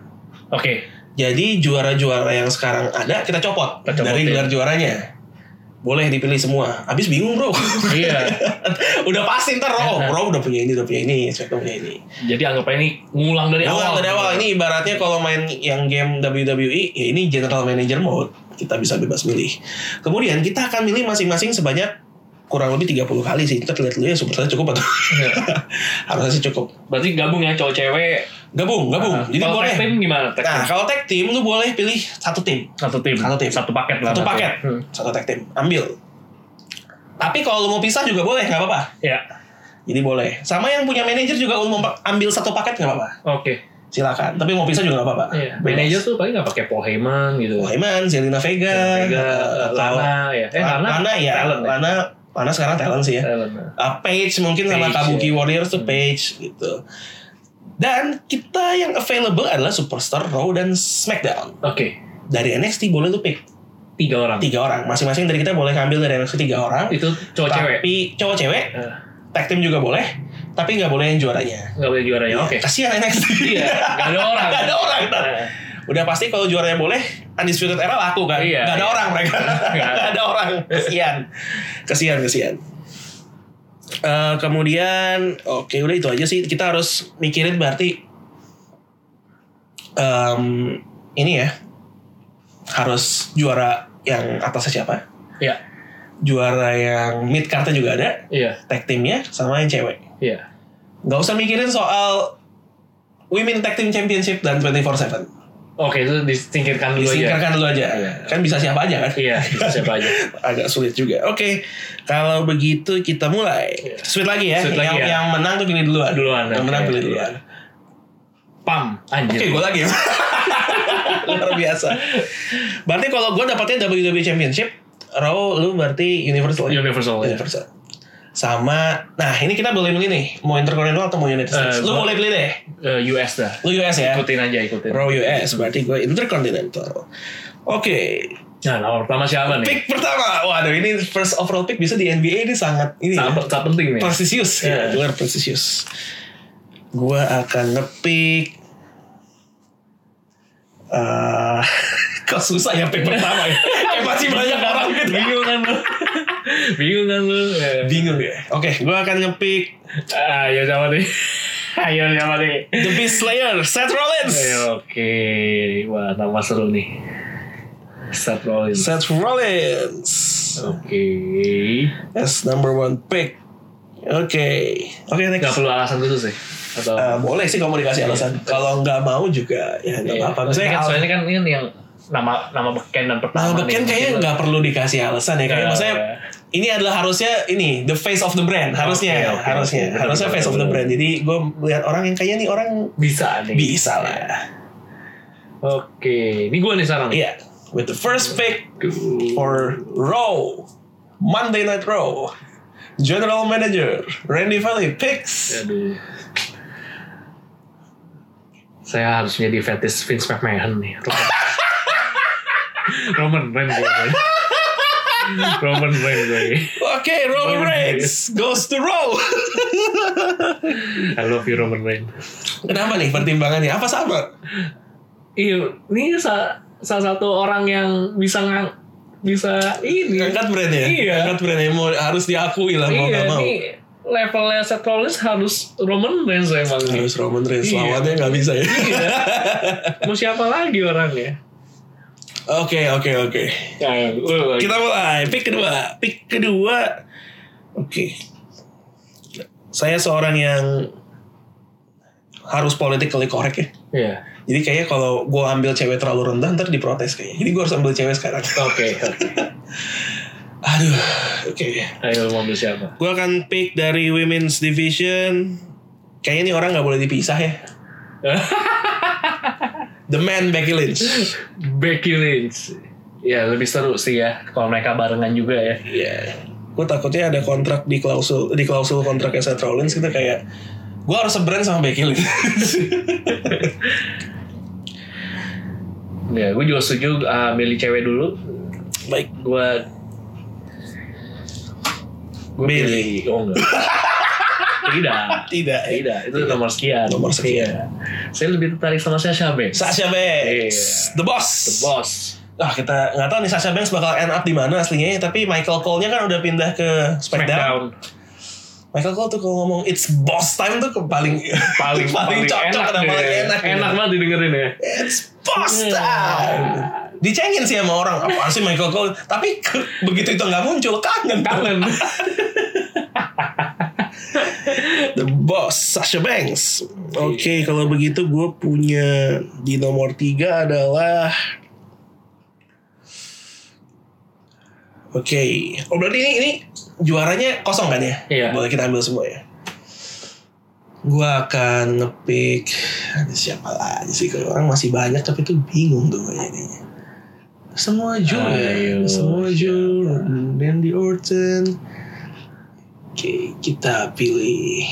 Speaker 2: Oke.
Speaker 1: Jadi juara-juara yang sekarang ada kita copot
Speaker 2: Kita iya.
Speaker 1: dari
Speaker 2: copotin.
Speaker 1: gelar juaranya. Boleh dipilih semua. Abis bingung bro.
Speaker 2: Iya.
Speaker 1: udah pasti ntar Raw.
Speaker 2: Enak.
Speaker 1: Raw udah punya ini, udah punya ini, SmackDown punya ini.
Speaker 2: Jadi anggap aja ini ngulang dari
Speaker 1: Awal
Speaker 2: awal.
Speaker 1: dari awal ini ibaratnya kalau main yang game WWE ya ini general manager mode kita bisa bebas milih. Kemudian kita akan milih masing-masing sebanyak kurang lebih 30 kali sih. Kita lihat dulu ya sebetulnya cukup atau
Speaker 2: Iya.
Speaker 1: harusnya sih cukup.
Speaker 2: Berarti gabung ya cowok cewek.
Speaker 1: Gabung, gabung.
Speaker 2: Nah,
Speaker 1: Jadi
Speaker 2: kalau
Speaker 1: boleh.
Speaker 2: tag team gimana? Tag
Speaker 1: Nah,
Speaker 2: team?
Speaker 1: kalau tag team lu boleh pilih satu tim.
Speaker 2: satu tim.
Speaker 1: Satu tim.
Speaker 2: Satu paket lah.
Speaker 1: Satu
Speaker 2: nanti.
Speaker 1: paket.
Speaker 2: Hmm.
Speaker 1: Satu tag team. Ambil. Tapi kalau lu mau pisah juga boleh, nggak apa-apa.
Speaker 2: Ya.
Speaker 1: Jadi boleh. Sama yang punya manajer juga lu mau ambil satu paket nggak apa-apa.
Speaker 2: Oke.
Speaker 1: Silakan. Tapi mau pisah juga nggak apa-apa.
Speaker 2: Iya.
Speaker 1: Bebas.
Speaker 2: Manajer tuh paling nggak pakai Paul Heyman gitu.
Speaker 1: Waiman, Zelina Vega,
Speaker 2: Vega,
Speaker 1: eh, atau
Speaker 2: Lana ya. Eh Lana.
Speaker 1: Lana ya,
Speaker 2: Talent. ya?
Speaker 1: Lana, Lana sekarang talent sih ya.
Speaker 2: Talent.
Speaker 1: Eh, Page mungkin sama
Speaker 2: Paige,
Speaker 1: Kabuki
Speaker 2: ya.
Speaker 1: Warriors tuh
Speaker 2: Hmm.
Speaker 1: Page gitu. Dan kita yang available adalah Superstar Raw dan SmackDown.
Speaker 2: Oke.
Speaker 1: Dari NXT boleh lu pick
Speaker 2: Tiga orang.
Speaker 1: tiga orang. Masing-masing dari kita boleh ngambil dari NXT tiga orang.
Speaker 2: Itu cowok cewek.
Speaker 1: Tapi cowok cewek,
Speaker 2: Eh,
Speaker 1: tag team juga boleh. Tapi nggak boleh yang juaranya.
Speaker 2: Nggak boleh juara ya. Oke.
Speaker 1: Kasihan NXT.
Speaker 2: Iya. Nggak ada orang.
Speaker 1: Nggak ada orang, ntar.
Speaker 2: Eh,
Speaker 1: Udah pasti kalau juaranya boleh Undisputed Era laku kan
Speaker 2: Iya,
Speaker 1: Gak ada
Speaker 2: iya.
Speaker 1: orang mereka
Speaker 2: Nggak
Speaker 1: Gak
Speaker 2: ada.
Speaker 1: ada orang Kesian Kesian kesian Eh, Kemudian Oke udah itu aja sih Kita harus mikirin berarti em, Ini ya Harus juara yang atasnya siapa
Speaker 2: Iya.
Speaker 1: Juara yang mid card juga ada
Speaker 2: Iya.
Speaker 1: Tag teamnya sama yang cewek
Speaker 2: Iya.
Speaker 1: Gak usah mikirin soal Women Tag Team Championship dan 24-7
Speaker 2: Oke itu disingkirkan dulu aja.
Speaker 1: Disingkirkan dulu aja.
Speaker 2: Oh, Iya.
Speaker 1: Kan bisa siapa aja kan?
Speaker 2: Iya. bisa Siapa aja.
Speaker 1: Agak sulit juga. Oke, kalau begitu kita mulai.
Speaker 2: Iya.
Speaker 1: Sweet lagi ya.
Speaker 2: Sweet
Speaker 1: yang,
Speaker 2: lagi ya.
Speaker 1: yang menang tuh pilih duluan. Yang
Speaker 2: Duluan, oke. Iya.
Speaker 1: menang pilih duluan.
Speaker 2: Pam. Anjir.
Speaker 1: Oke, gue lagi. Luar biasa. Berarti kalau gue dapatnya WWE Championship, Raw lu berarti Universal. ya?
Speaker 2: Universal. ya.
Speaker 1: Universal. Sama, nah ini kita boleh milih nih, mau Intercontinental atau mau United States.
Speaker 2: Eh,
Speaker 1: lu
Speaker 2: gua-
Speaker 1: boleh pilih deh.
Speaker 2: Eh, US dah.
Speaker 1: Lu US ya.
Speaker 2: Ikutin aja ikutin.
Speaker 1: Raw US, berarti gue Intercontinental. Oke,
Speaker 2: Nah, nama pertama siapa nih?
Speaker 1: Pick pertama. Waduh, ini first overall pick bisa di NBA ini sangat ini ya,
Speaker 2: Sangat, sangat penting nih.
Speaker 1: prestisius.
Speaker 2: Iya.
Speaker 1: Ya, luar prestisius. Gua akan ngepick eh kok susah ya pick pertama ya? Kayak masih banyak orang gitu.
Speaker 2: Bingung kan lu? Bingung kan lu? Ya. Ah,
Speaker 1: Bingung ya. Oke, gua akan ngepick
Speaker 2: Ayo siapa nih? Ayo siapa nih?
Speaker 1: The Beast Slayer, Seth Rollins.
Speaker 2: Eh, Oke, wah nama seru nih. Seth Rollins.
Speaker 1: Seth Rollins.
Speaker 2: Oke.
Speaker 1: Yes, number one pick. Oke. Oke, next.
Speaker 2: Gak perlu alasan khusus sih? Atau?
Speaker 1: Eh, boleh sih kamu dikasih alasan. Kalau nggak mau juga ya nggak
Speaker 2: Iya.
Speaker 1: apa-apa. Misalnya
Speaker 2: Kan
Speaker 1: al-
Speaker 2: soalnya kan ini yang nama nama beken dan pertama.
Speaker 1: Nah, beken
Speaker 2: nih.
Speaker 1: kayaknya nggak perlu dikasih alasan ya. Kayaknya
Speaker 2: Iya.
Speaker 1: maksudnya ini adalah harusnya ini the face of the brand harusnya ya,
Speaker 2: Oke, oke,
Speaker 1: harusnya
Speaker 2: oke.
Speaker 1: harusnya face of the brand. Jadi gue melihat orang yang kayaknya nih orang
Speaker 2: bisa nih.
Speaker 1: bisa
Speaker 2: Iya.
Speaker 1: lah.
Speaker 2: Oke, ini gue nih sekarang. nih.
Speaker 1: Iya. With the first pick
Speaker 2: Aduh.
Speaker 1: for Raw Monday Night Raw General Manager Randy Valley picks
Speaker 2: Aduh. Saya harus jadi fetis Vince McMahon nih. Roman Reigns gue. gue. Roman Reigns gue.
Speaker 1: Oke Roman Reigns goes to Raw
Speaker 2: I love you Roman Reigns.
Speaker 1: Kenapa nih pertimbangannya apa sama?
Speaker 2: Iya, ini sa- salah satu orang yang bisa ngang bisa ini.
Speaker 1: Ngangkat brand ya?
Speaker 2: Iya.
Speaker 1: Ngangkat brand ya, mau, harus diakui lah mau
Speaker 2: iya,
Speaker 1: gak mau.
Speaker 2: ini levelnya Seth Rollins harus Roman Reigns emang nih.
Speaker 1: Harus Roman Reigns,
Speaker 2: Iya.
Speaker 1: lawannya gak bisa ya.
Speaker 2: Iya. Mau siapa lagi orangnya?
Speaker 1: Oke, oke, oke.
Speaker 2: Ya, gue-
Speaker 1: Kita mulai, pick kedua. Pick kedua. Oke. Saya seorang yang harus politically correct ya.
Speaker 2: Iya.
Speaker 1: Jadi kayaknya kalau gue ambil cewek terlalu rendah ntar diprotes kayaknya. Jadi gue harus ambil cewek sekarang.
Speaker 2: Oke, oke.
Speaker 1: Aduh, oke.
Speaker 2: Ayo mau ambil siapa?
Speaker 1: Gue akan pick dari women's division. Kayaknya nih orang nggak boleh dipisah ya. The man Becky Lynch.
Speaker 2: Becky Lynch. Ya lebih seru sih ya kalau mereka barengan juga ya.
Speaker 1: Iya. Gue takutnya ada kontrak di klausul di klausul kontraknya Seth Rollins kita kayak gue harus sebrand sama Becky Lynch.
Speaker 2: Ya gue juga setuju uh, milih cewek dulu.
Speaker 1: Baik.
Speaker 2: Gue gue
Speaker 1: Milih.
Speaker 2: pilih oh enggak. Tidak.
Speaker 1: Tidak. ya.
Speaker 2: Tidak, itu nomor sekian.
Speaker 1: Nomor sekian.
Speaker 2: Iya. Saya lebih tertarik sama Sasha Banks.
Speaker 1: Sasha Banks,
Speaker 2: Iya.
Speaker 1: the boss.
Speaker 2: The Boss.
Speaker 1: Nah, kita nggak tahu nih Sasha Banks bakal end up di mana aslinya, tapi Michael Cole-nya kan udah pindah ke SmackDown.
Speaker 2: Smackdown.
Speaker 1: Michael Cole tuh kalau ngomong it's boss time tuh ke paling
Speaker 2: Paling, paling,
Speaker 1: cocok
Speaker 2: enak,
Speaker 1: dan
Speaker 2: deh.
Speaker 1: paling
Speaker 2: enak. Iya.
Speaker 1: enak. gitu.
Speaker 2: banget didengerin ya.
Speaker 1: It's boss time. Dicengin sih sama orang apa sih Michael Cole, tapi ke- begitu itu nggak muncul kangen.
Speaker 2: Kangen.
Speaker 1: The Boss, Sasha Banks. Oke, kalau begitu gue punya di nomor tiga adalah. Oke, oh berarti ini ini juaranya kosong kan ya?
Speaker 2: Iya.
Speaker 1: Boleh kita ambil semua ya. Gue akan ngepick ada siapa lagi sih? Kalau orang masih banyak tapi tuh bingung tuh gua jadinya. Semua
Speaker 2: Ayo,
Speaker 1: juara, semua
Speaker 2: siapa?
Speaker 1: juara. Randy Orton. Oke, kita pilih.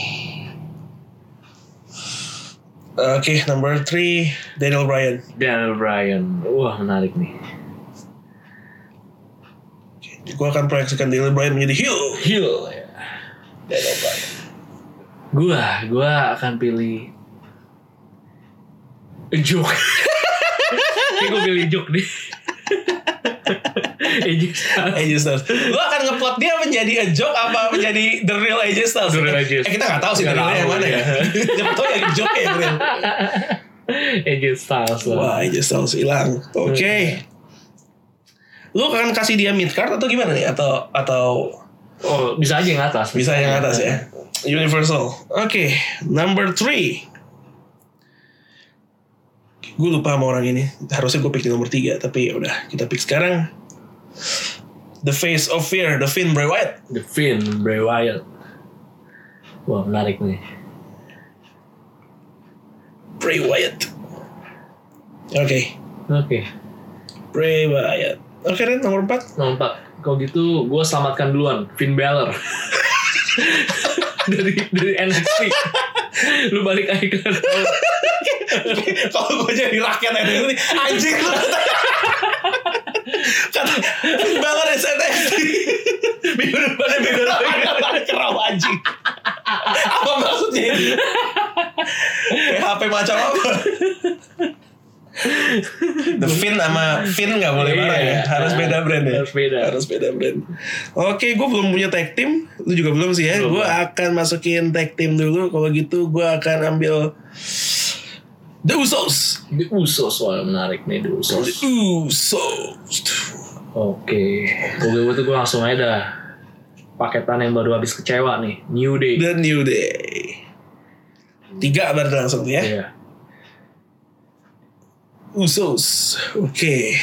Speaker 1: Oke, number three, Daniel Bryan.
Speaker 2: Daniel Bryan. Wah, menarik nih.
Speaker 1: Gue akan proyeksikan Daniel Bryan menjadi heel.
Speaker 2: Hill ya.
Speaker 1: Daniel Bryan.
Speaker 2: Gua, gua akan pilih Juk. Ini gue pilih Juk deh. Ejuk Styles.
Speaker 1: AJ Styles. Gue akan ngeplot dia menjadi a joke apa menjadi the real AJ Styles.
Speaker 2: The real AJ
Speaker 1: Eh, kita nggak tahu sih the
Speaker 2: Nggak
Speaker 1: realnya yang
Speaker 2: tahu, iya.
Speaker 1: mana ya. Siapa tahu yang joke ya the real.
Speaker 2: Ejuk Styles lah.
Speaker 1: Wah, AJ Styles hilang. Oke. Lu akan kasih dia mid card atau gimana nih? Atau atau
Speaker 2: Oh, bisa aja yang atas.
Speaker 1: Bisa yang atas ya. Universal. Oke, number three. Gue lupa sama orang ini. Harusnya gue pick di nomor tiga, tapi ya udah kita pick sekarang. The Face of Fear, The Finn Bray Wyatt.
Speaker 2: The Finn, Bray Wyatt. Wah, menarik nih.
Speaker 1: Bray Wyatt. Oke,
Speaker 2: Oke,
Speaker 1: Bray Wyatt. Oke Ren, nomor empat.
Speaker 2: nomor empat. Kalau gitu, gue selamatkan duluan Finn Balor dari dari NXT. Lu balik aja ke
Speaker 1: Kalau gue jadi rakyat NXT, anjing lu kata. Kata, Finn Balor SNXT. Minggu depan, minggu depan, kerau anjing. Apa maksudnya ini? Kayak HP macam apa? The Fin sama Fin gak boleh
Speaker 2: Iya.
Speaker 1: bareng ya Harus beda brand ya
Speaker 2: Harus beda.
Speaker 1: Harus beda brand Oke gue belum punya tag team Lu juga belum sih ya
Speaker 2: Belum.
Speaker 1: Gue akan masukin tag team dulu Kalau gitu gue akan ambil The Usos
Speaker 2: The Usos. Wah, menarik nih The
Speaker 1: The
Speaker 2: Usos.
Speaker 1: Usos
Speaker 2: Oke, kalau gitu gue langsung aja dah. Paketan yang baru habis kecewa nih, New Day.
Speaker 1: The New Day Tiga berarti langsung tuh ya
Speaker 2: Iya.
Speaker 1: Usos. Oke.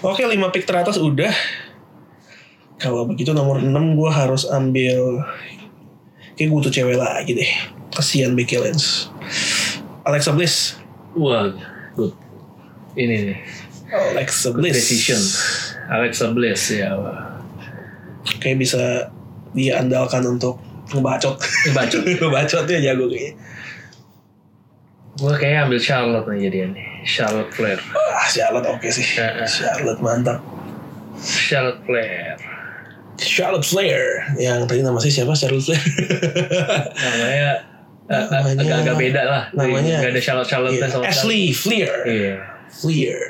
Speaker 1: Oke, lima pick teratas udah. Kalau begitu nomor 6 gue harus ambil... Kayak gue butuh cewek lagi deh. Kasian Becky Lynch. Alexa Bliss.
Speaker 2: Wah, good. Ini nih,
Speaker 1: Alexa Bliss.
Speaker 2: decision. Alexa Bliss ya.
Speaker 1: Kayak bisa dia andalkan untuk ngebacot.
Speaker 2: Ngebacot.
Speaker 1: Ngebacotnya jago kayaknya.
Speaker 2: Gue kayaknya ambil Charlotte nih jadian nih. Charlotte Flair.
Speaker 1: Ah, Charlotte oke sih.
Speaker 2: Heeh.
Speaker 1: Charlotte mantap.
Speaker 2: Charlotte Flair.
Speaker 1: Charlotte Flair. Yang tadi nama saya siapa? Charlotte Flair.
Speaker 2: Namanya eh,
Speaker 1: Namanya-
Speaker 2: agak-agak beda lah.
Speaker 1: namanya-
Speaker 2: Gak ada Charlotte Charlotte
Speaker 1: Iya,
Speaker 2: sama
Speaker 1: Ashley Flair.
Speaker 2: Charlotte. Iya.
Speaker 1: Fleer.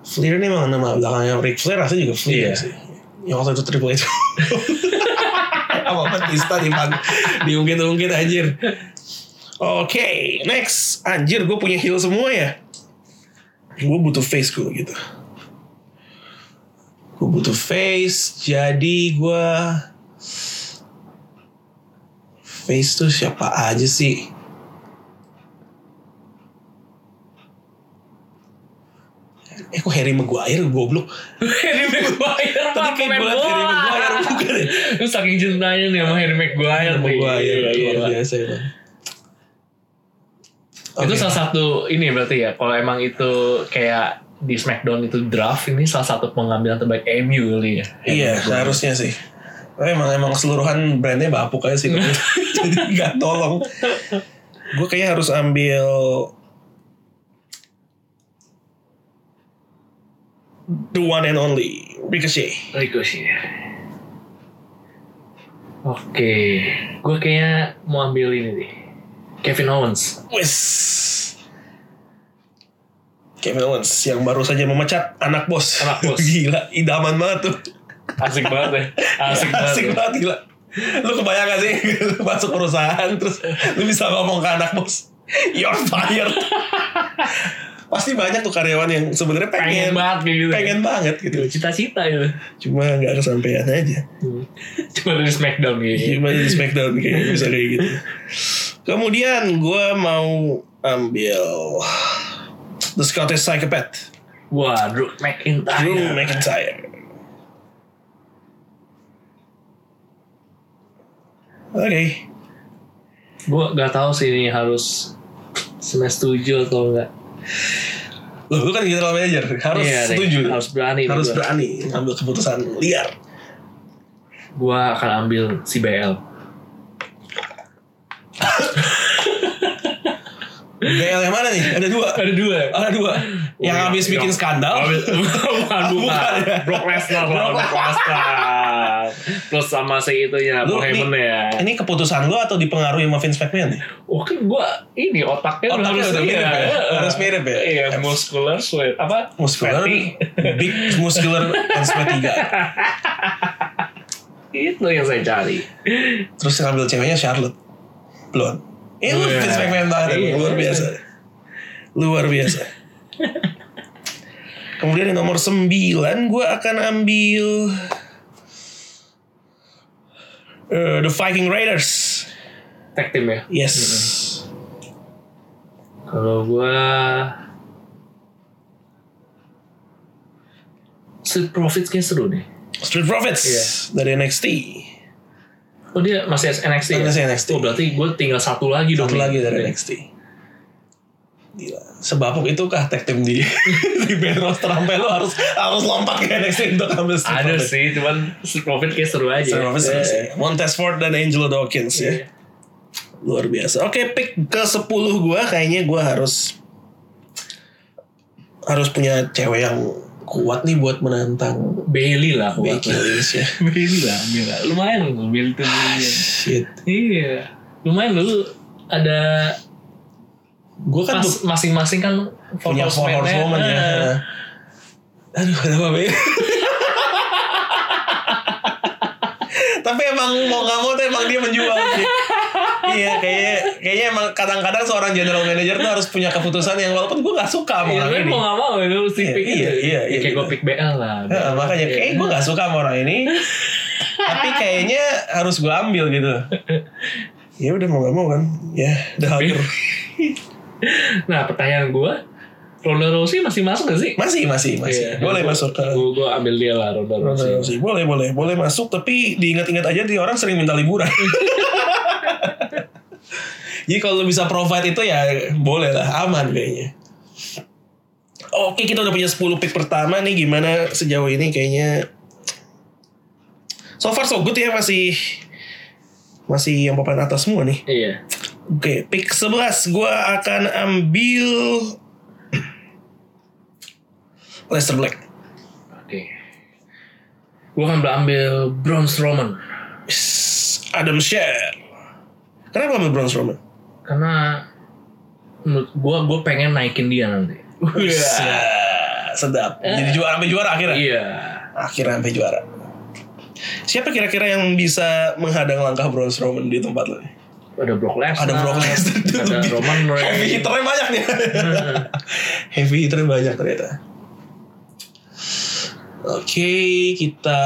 Speaker 1: Fleer ini memang nama belakangnya Ric Flair rasanya juga Fleer
Speaker 2: Iya.
Speaker 1: sih. Yang waktu itu Triple H. Apa Batista dipang, diungkit-ungkit anjir. Oke, next. Anjir, gue punya heel semua ya. Gue butuh face gue gitu. Gue butuh face, jadi gue... Face tuh siapa aja sih? Eh kok Harry Maguire goblok?
Speaker 2: Harry Maguire.
Speaker 1: Tadi kayak gue liat Harry Maguire bukan ya?
Speaker 2: Lu saking cintanya nih sama Harry Maguire. nih. Iya,
Speaker 1: Maguire
Speaker 2: Gila,
Speaker 1: iya, luar
Speaker 2: gila.
Speaker 1: biasa itu. Iya,
Speaker 2: Itu
Speaker 1: Oke.
Speaker 2: salah satu ini berarti ya. Kalau emang itu kayak di Smackdown itu draft ini salah satu pengambilan terbaik MU kali ya.
Speaker 1: Iya harusnya sih. Tapi emang emang keseluruhan brandnya bapuk aja sih. gua. Jadi nggak tolong. Gue kayaknya harus ambil the one and only Ricochet.
Speaker 2: Ricochet. Oke, gue kayaknya mau ambil ini deh. Kevin Owens.
Speaker 1: Wes. Kevin Owens yang baru saja memecat anak bos.
Speaker 2: Anak bos.
Speaker 1: gila, idaman banget tuh.
Speaker 2: Asik banget ya. Asik banget.
Speaker 1: Asik
Speaker 2: ya.
Speaker 1: banget gila. Lu kebayang gak sih lu masuk perusahaan terus lu bisa ngomong ke anak bos, you're fired. Pasti banyak tuh karyawan yang sebenarnya
Speaker 2: Pengen
Speaker 1: pengen,
Speaker 2: banget kayak gitu.
Speaker 1: pengen banget gitu.
Speaker 2: Cita-cita itu.
Speaker 1: Cuma nggak kesampaian aja.
Speaker 2: Cuma dari Smackdown gitu.
Speaker 1: Gimana di Smackdown kayaknya bisa kayak gitu. Kemudian gue mau ambil The Scottish Psychopath,
Speaker 2: Wah, Drew McIntyre.
Speaker 1: Drew McIntyre. Oke,
Speaker 2: Gue gak tahu sih ini harus semes tujuh atau enggak.
Speaker 1: Loh, lu kan general manager, harus
Speaker 2: Iya, nih.
Speaker 1: setuju.
Speaker 2: Harus berani.
Speaker 1: Harus
Speaker 2: nih gua.
Speaker 1: berani ambil keputusan liar.
Speaker 2: Gua akan ambil si BL.
Speaker 1: BL yang mana nih? Ada dua.
Speaker 2: Ada dua. ya?
Speaker 1: Ada dua. Yang
Speaker 2: iya,
Speaker 1: habis
Speaker 2: iya.
Speaker 1: bikin skandal.
Speaker 2: Abis- bukan, bukan.
Speaker 1: Bukan, ya.
Speaker 2: Brock Lesnar lah, Brock Lesnar. Terus sama si itunya,
Speaker 1: Lu,
Speaker 2: Paul Heyman
Speaker 1: nih,
Speaker 2: ya.
Speaker 1: Ini keputusan lo atau dipengaruhi sama Vince McMahon nih?
Speaker 2: Oh kan gue ini otaknya,
Speaker 1: Otaknya
Speaker 2: harus
Speaker 1: udah mirip
Speaker 2: iya,
Speaker 1: ya?
Speaker 2: iya.
Speaker 1: Harus mirip ya?
Speaker 2: Iya, muscular, sweat. Apa?
Speaker 1: Muscular,
Speaker 2: Fatty.
Speaker 1: big muscular and sweaty guy.
Speaker 2: Itu yang saya cari.
Speaker 1: Terus yang ambil ceweknya Charlotte. Blonde. Ini lu
Speaker 2: Iya.
Speaker 1: Vince McMahon banget,
Speaker 2: Iya.
Speaker 1: emang. luar biasa. Luar biasa. Kemudian di nomor 9 gue akan ambil eh, The Viking Raiders.
Speaker 2: Tag team ya.
Speaker 1: Yes.
Speaker 2: Kalau gue Street Profits kayak seru nih.
Speaker 1: Street Profits
Speaker 2: Iya.
Speaker 1: dari NXT.
Speaker 2: Oh dia masih NXT ya?
Speaker 1: Kan Masih NXT.
Speaker 2: Oh berarti gue tinggal satu lagi dong.
Speaker 1: Satu
Speaker 2: nih. Iya.
Speaker 1: lagi dari
Speaker 2: Oke.
Speaker 1: NXT. Gila. Sebabuk itu kah tag team di di main roster sampai lo harus harus lompat ke NXT untuk ambil Street
Speaker 2: Ada
Speaker 1: Profits.
Speaker 2: sih, cuman Street Profits kayak seru aja.
Speaker 1: Street Profits
Speaker 2: Iya.
Speaker 1: ada sih. Montez Ford dan Angelo Dawkins
Speaker 2: Iya.
Speaker 1: ya. Luar biasa. Oke, pick ke 10 gua kayaknya gua harus harus punya cewek yang kuat nih buat menantang
Speaker 2: Bailey lah. gua.
Speaker 1: Becky Lynch ya.
Speaker 2: Bailey lah, ambil lah. Lumayan loh, Bailey tuh. Bailey.
Speaker 1: Shit.
Speaker 2: Iya. Lumayan dulu ada
Speaker 1: Gua kan
Speaker 2: pas
Speaker 1: tuh
Speaker 2: masing-masing kan four
Speaker 1: punya four
Speaker 2: horseman-nya.
Speaker 1: horsewoman ya.
Speaker 2: Eh,
Speaker 1: Aduh, kenapa Be? Tapi emang mau nggak mau tuh emang dia menjual sih. iya, kayaknya kayaknya emang kadang-kadang seorang general manager tuh harus punya keputusan yang walaupun gue nggak suka sama
Speaker 2: Iya,
Speaker 1: orang
Speaker 2: tapi
Speaker 1: ini.
Speaker 2: mau gak mau lu mesti
Speaker 1: Iya,
Speaker 2: pick
Speaker 1: iya,
Speaker 2: itu.
Speaker 1: iya,
Speaker 2: Ya,
Speaker 1: iya,
Speaker 2: Kayak gue
Speaker 1: gitu.
Speaker 2: pick BL lah.
Speaker 1: Nah, makanya
Speaker 2: Iya.
Speaker 1: kayak gue nggak suka sama orang ini. tapi kayaknya harus gue ambil gitu. Ya udah mau nggak mau kan. Ya, udah hampir.
Speaker 2: Nah pertanyaan gue Ronda Rousey masih masuk gak sih?
Speaker 1: Masih, masih, masih. Boleh masuk ke
Speaker 2: Gue gua ambil dia lah Ronda Rousey
Speaker 1: Rousey. Boleh, boleh, boleh masuk. Tapi diingat-ingat aja, di orang sering minta liburan. Jadi kalau lu bisa provide itu ya boleh lah, aman kayaknya. Oke, kita udah punya 10 pick pertama nih. Gimana sejauh ini kayaknya? So far so good ya masih masih yang papan atas semua nih.
Speaker 2: Iya
Speaker 1: Oke, pick 11 gua akan ambil Lester Black.
Speaker 2: Oke Gue akan ambil Braun Strowman
Speaker 1: Adam Scher. Kenapa ambil Braun Strowman?
Speaker 2: Karena Menurut gue Gue pengen naikin dia nanti
Speaker 1: Wah, Iya. Sedap. Jadi juara sampai juara akhirnya.
Speaker 2: Eh. Iya
Speaker 1: Akhirnya sampai juara. Siapa kira-kira yang bisa menghadang langkah Braun Strowman di tempat lo?
Speaker 2: Ada Brock Lesnar
Speaker 1: Ada Brock Lesnar itu
Speaker 2: Nah, Ada
Speaker 1: lebih-
Speaker 2: Roman
Speaker 1: Heavy
Speaker 2: Reigns
Speaker 1: hitternya banyak nih. Heavy hitternya banyak ternyata. Oke, kita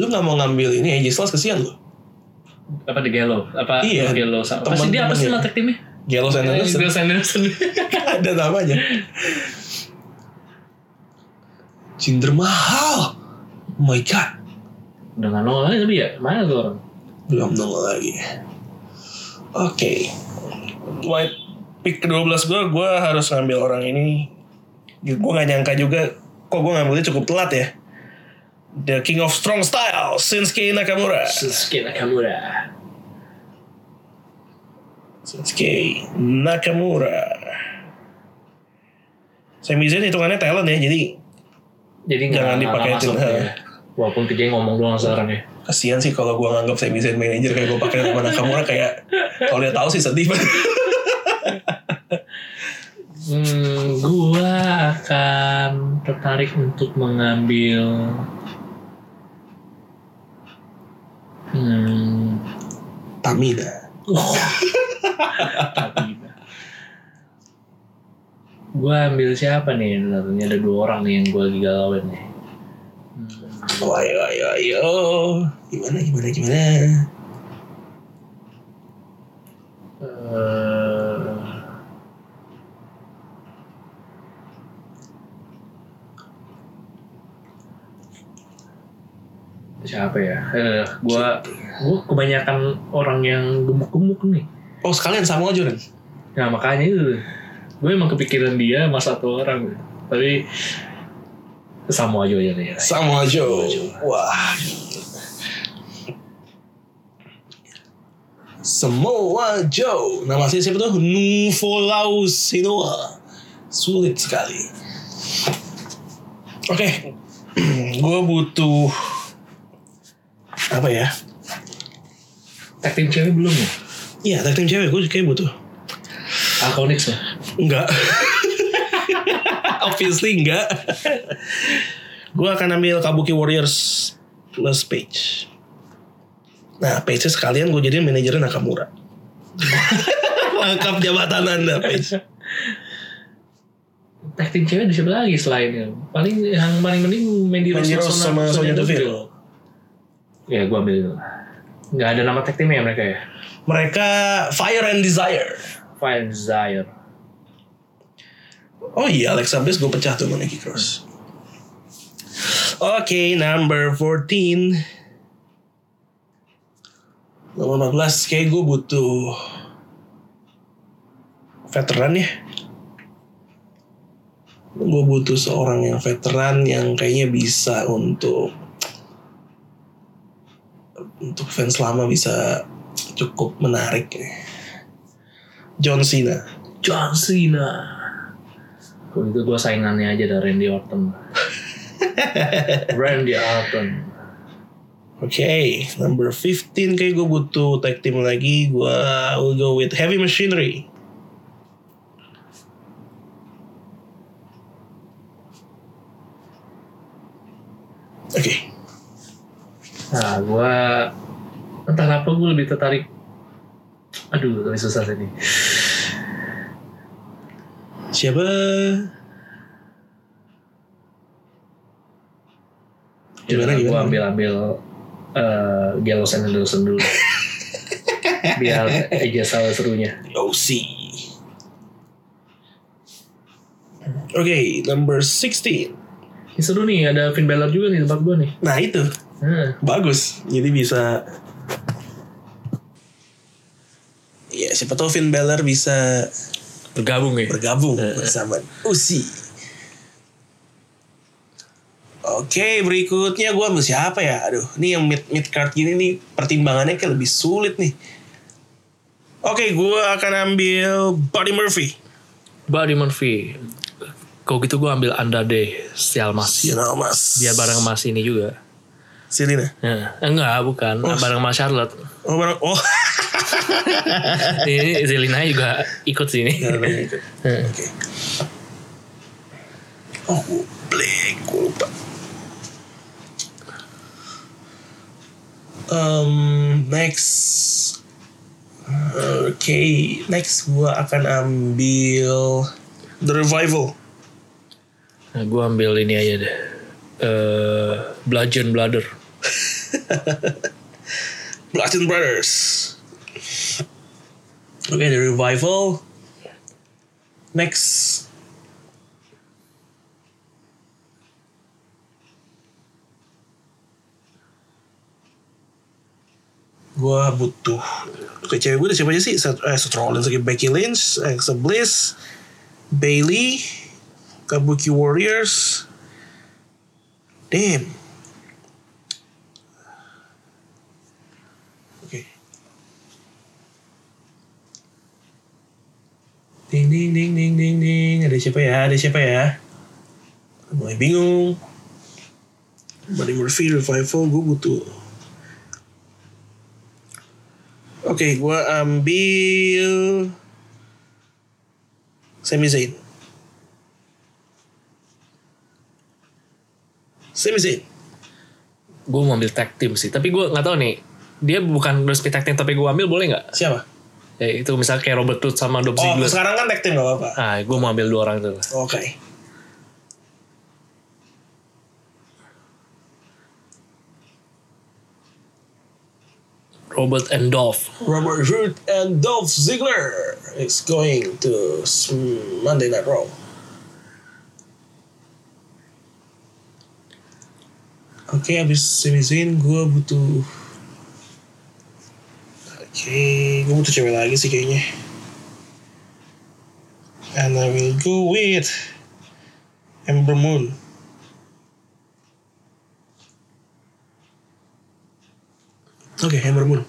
Speaker 1: lu nggak mau ngambil ini AJ Styles kesian lu.
Speaker 2: Apa di Gallo Apa
Speaker 1: Iya,
Speaker 2: Gallo sama Pasti dia apa
Speaker 1: teman-temannya.
Speaker 2: sih latar timnya?
Speaker 1: Gallows and
Speaker 2: Gallo
Speaker 1: Anderson.
Speaker 2: Sanderson
Speaker 1: ada namanya. Cinder mahal. Oh my god.
Speaker 2: Udah gak nol lagi tapi ya Mana tuh orang
Speaker 1: Belum nongol lagi. Oke. White pick ke-12 gue, gue harus ngambil orang ini. Gue gak nyangka juga, kok gue ngambilnya cukup telat ya. The King of Strong Style, Shinsuke Nakamura.
Speaker 2: Shinsuke Nakamura
Speaker 1: Shinsuke Nakamura. Sami Zayn hitungannya talent ya, jadi
Speaker 2: Jadi nggak
Speaker 1: jangan
Speaker 2: nggak
Speaker 1: dipakai
Speaker 2: masuk
Speaker 1: Jangan
Speaker 2: ya. Walaupun kerjanya ngomong doang sekarang ya.
Speaker 1: Kasian sih kalau gue nganggap Sami Zayn manajer kayak gue pakai nama Nakamura kayak kalau dia tahu sih sedih banget.
Speaker 2: Hmm, gua akan tertarik untuk mengambil hmm,
Speaker 1: Tamina.
Speaker 2: Habiba. gua ambil siapa nih? Sebenarnya ada dua orang nih yang gua lagi galauin nih. Hmm,
Speaker 1: Wah, yo, yo, yo. Gimana, gimana, gimana?
Speaker 2: eh, siapa ya? Eh, gua, gua kebanyakan orang yang gemuk-gemuk nih.
Speaker 1: Oh, sekalian sama aja, Ren.
Speaker 2: Nah makanya itu Gue emang kepikiran dia sama satu orang Tapi Sama aja aja ya
Speaker 1: Sama aja. Wah. Semua Joe. Nama asli siapa tuh? Nufolaus Sinoa. Sulit sekali. Oke. Gue butuh apa ya?
Speaker 2: Tag team cewek belum ya?
Speaker 1: Iya, tag team cewek gue kayak butuh.
Speaker 2: Alkonix ya?
Speaker 1: Enggak. Obviously enggak. gue akan ambil Kabuki Warriors plus Page. Nah, Page sekalian gue jadiin manajernya Nakamura. Lengkap jabatan Anda, Page.
Speaker 2: Tag team cewek ada siapa lagi selain ya? Paling yang paling penting Mandy Rose
Speaker 1: Mandy Rose sama Sonya Deville.
Speaker 2: Ya gue ambil itu Gak ada nama tag team ya mereka ya?
Speaker 1: Mereka Fire and Desire.
Speaker 2: Fine Zaire
Speaker 1: Oh iya, Alexa Bliss gue pecah tuh sama Nikki Cross. Oke, number 14. Nomor 15, kayak gue butuh veteran ya. Gue butuh seorang yang veteran yang kayaknya bisa untuk untuk fans lama bisa cukup menarik. John Cena.
Speaker 2: John Cena Kalau gitu gue saingannya aja dari Randy Orton Randy Orton
Speaker 1: Oke, number 15 kayak gue butuh tag team lagi. Gue will go with Heavy Machinery. Oke,
Speaker 2: Nah, gua entah kenapa gue lebih tertarik. Aduh, tapi susah tadi.
Speaker 1: siapa? Gimana,
Speaker 2: Gue
Speaker 1: gimana?
Speaker 2: ambil ambil eh Gallows and Anderson dulu. Biar aja salah serunya.
Speaker 1: OC. Oke, number 16.
Speaker 2: Ini seru nih, ada Finn Balor juga nih tempat gue nih.
Speaker 1: Nah itu,
Speaker 2: Nah,
Speaker 1: bagus. Jadi bisa Ya, siapa tahu Finn Balor bisa
Speaker 2: bergabung ya.
Speaker 1: bergabung bersama Usi. Oke, berikutnya gue sama siapa ya? Aduh, ini yang mid mid card gini nih pertimbangannya kayak lebih sulit nih. Oke, gue akan ambil Buddy Murphy.
Speaker 2: Buddy Murphy. Kalau gitu gue ambil Andrade Sialmas.
Speaker 1: Sial Iya, mas.
Speaker 2: Biar bareng Mas ini juga.
Speaker 1: Silina.
Speaker 2: Nah, enggak, bukan. Bareng Mas Charlotte.
Speaker 1: Oh, bareng. Oh.
Speaker 2: Ini Zelina juga ikut sini.
Speaker 1: Oke.
Speaker 2: Heeh.
Speaker 1: Oh, gue blank, gue lupa. Um, next. Oke, next gua akan ambil The Revival.
Speaker 2: Nah, gue ambil ini aja deh. eh bludgeon Bladder.
Speaker 1: Bludgeon Brothers. Oke, The Revival. Next. Gua butuh Oke, cewek gue udah siapa aja sih? Seth, eh, Seth Rollins lagi Becky Lynch, Alexa Bliss, Bailey, Kabuki Warriors. Damn. Oke. Ding ding ding ding ding ding. Ada siapa ya? Ada siapa ya? Mulai bingung. Buddy Murphy revival gue butuh. Oke, gue ambil Sami Zayn. Sami Zayn.
Speaker 2: Gue mau ambil tag team sih, tapi gue nggak tahu nih. Dia bukan resmi tag team, tapi gue ambil boleh nggak?
Speaker 1: Siapa?
Speaker 2: Ya, itu misalnya kayak Robert Root sama Dolph
Speaker 1: Oh,
Speaker 2: Ziggler.
Speaker 1: sekarang kan tag team gak apa-apa.
Speaker 2: Ah, gue mau ambil dua orang itu.
Speaker 1: Oke.
Speaker 2: Robert and Dolph.
Speaker 1: Robert Root and Dolph Ziggler is going to sm- Monday Night Raw. Oke, abis Sami Zayn gue butuh... Oke, gue butuh cewek lagi sih kayaknya. And I will go with Ember Moon. Oke, Ember Moon.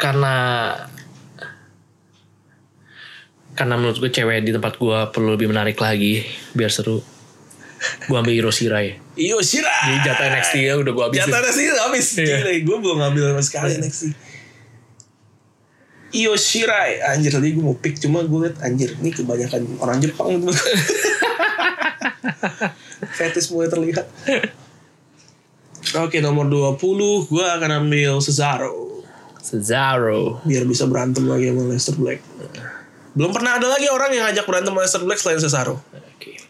Speaker 2: karena karena menurut gue cewek di tempat gue perlu lebih menarik lagi biar seru gue ambil Hiroshirai
Speaker 1: Yoshira!
Speaker 2: jadi jatah NXT ya udah gue habisin
Speaker 1: Jatah sih habis.
Speaker 2: Iya.
Speaker 1: Gila, gue belum ngambil sama sekali NXT. Io Shirai Anjir tadi gue mau pick Cuma gue liat Anjir ini kebanyakan orang Jepang teman. Fetis mulai terlihat Oke nomor 20 Gue akan ambil Cesaro
Speaker 2: Cesaro
Speaker 1: Biar bisa berantem lagi sama Lester Black Belum pernah ada lagi orang yang ngajak berantem sama Lester Black Selain Cesaro
Speaker 2: Oke.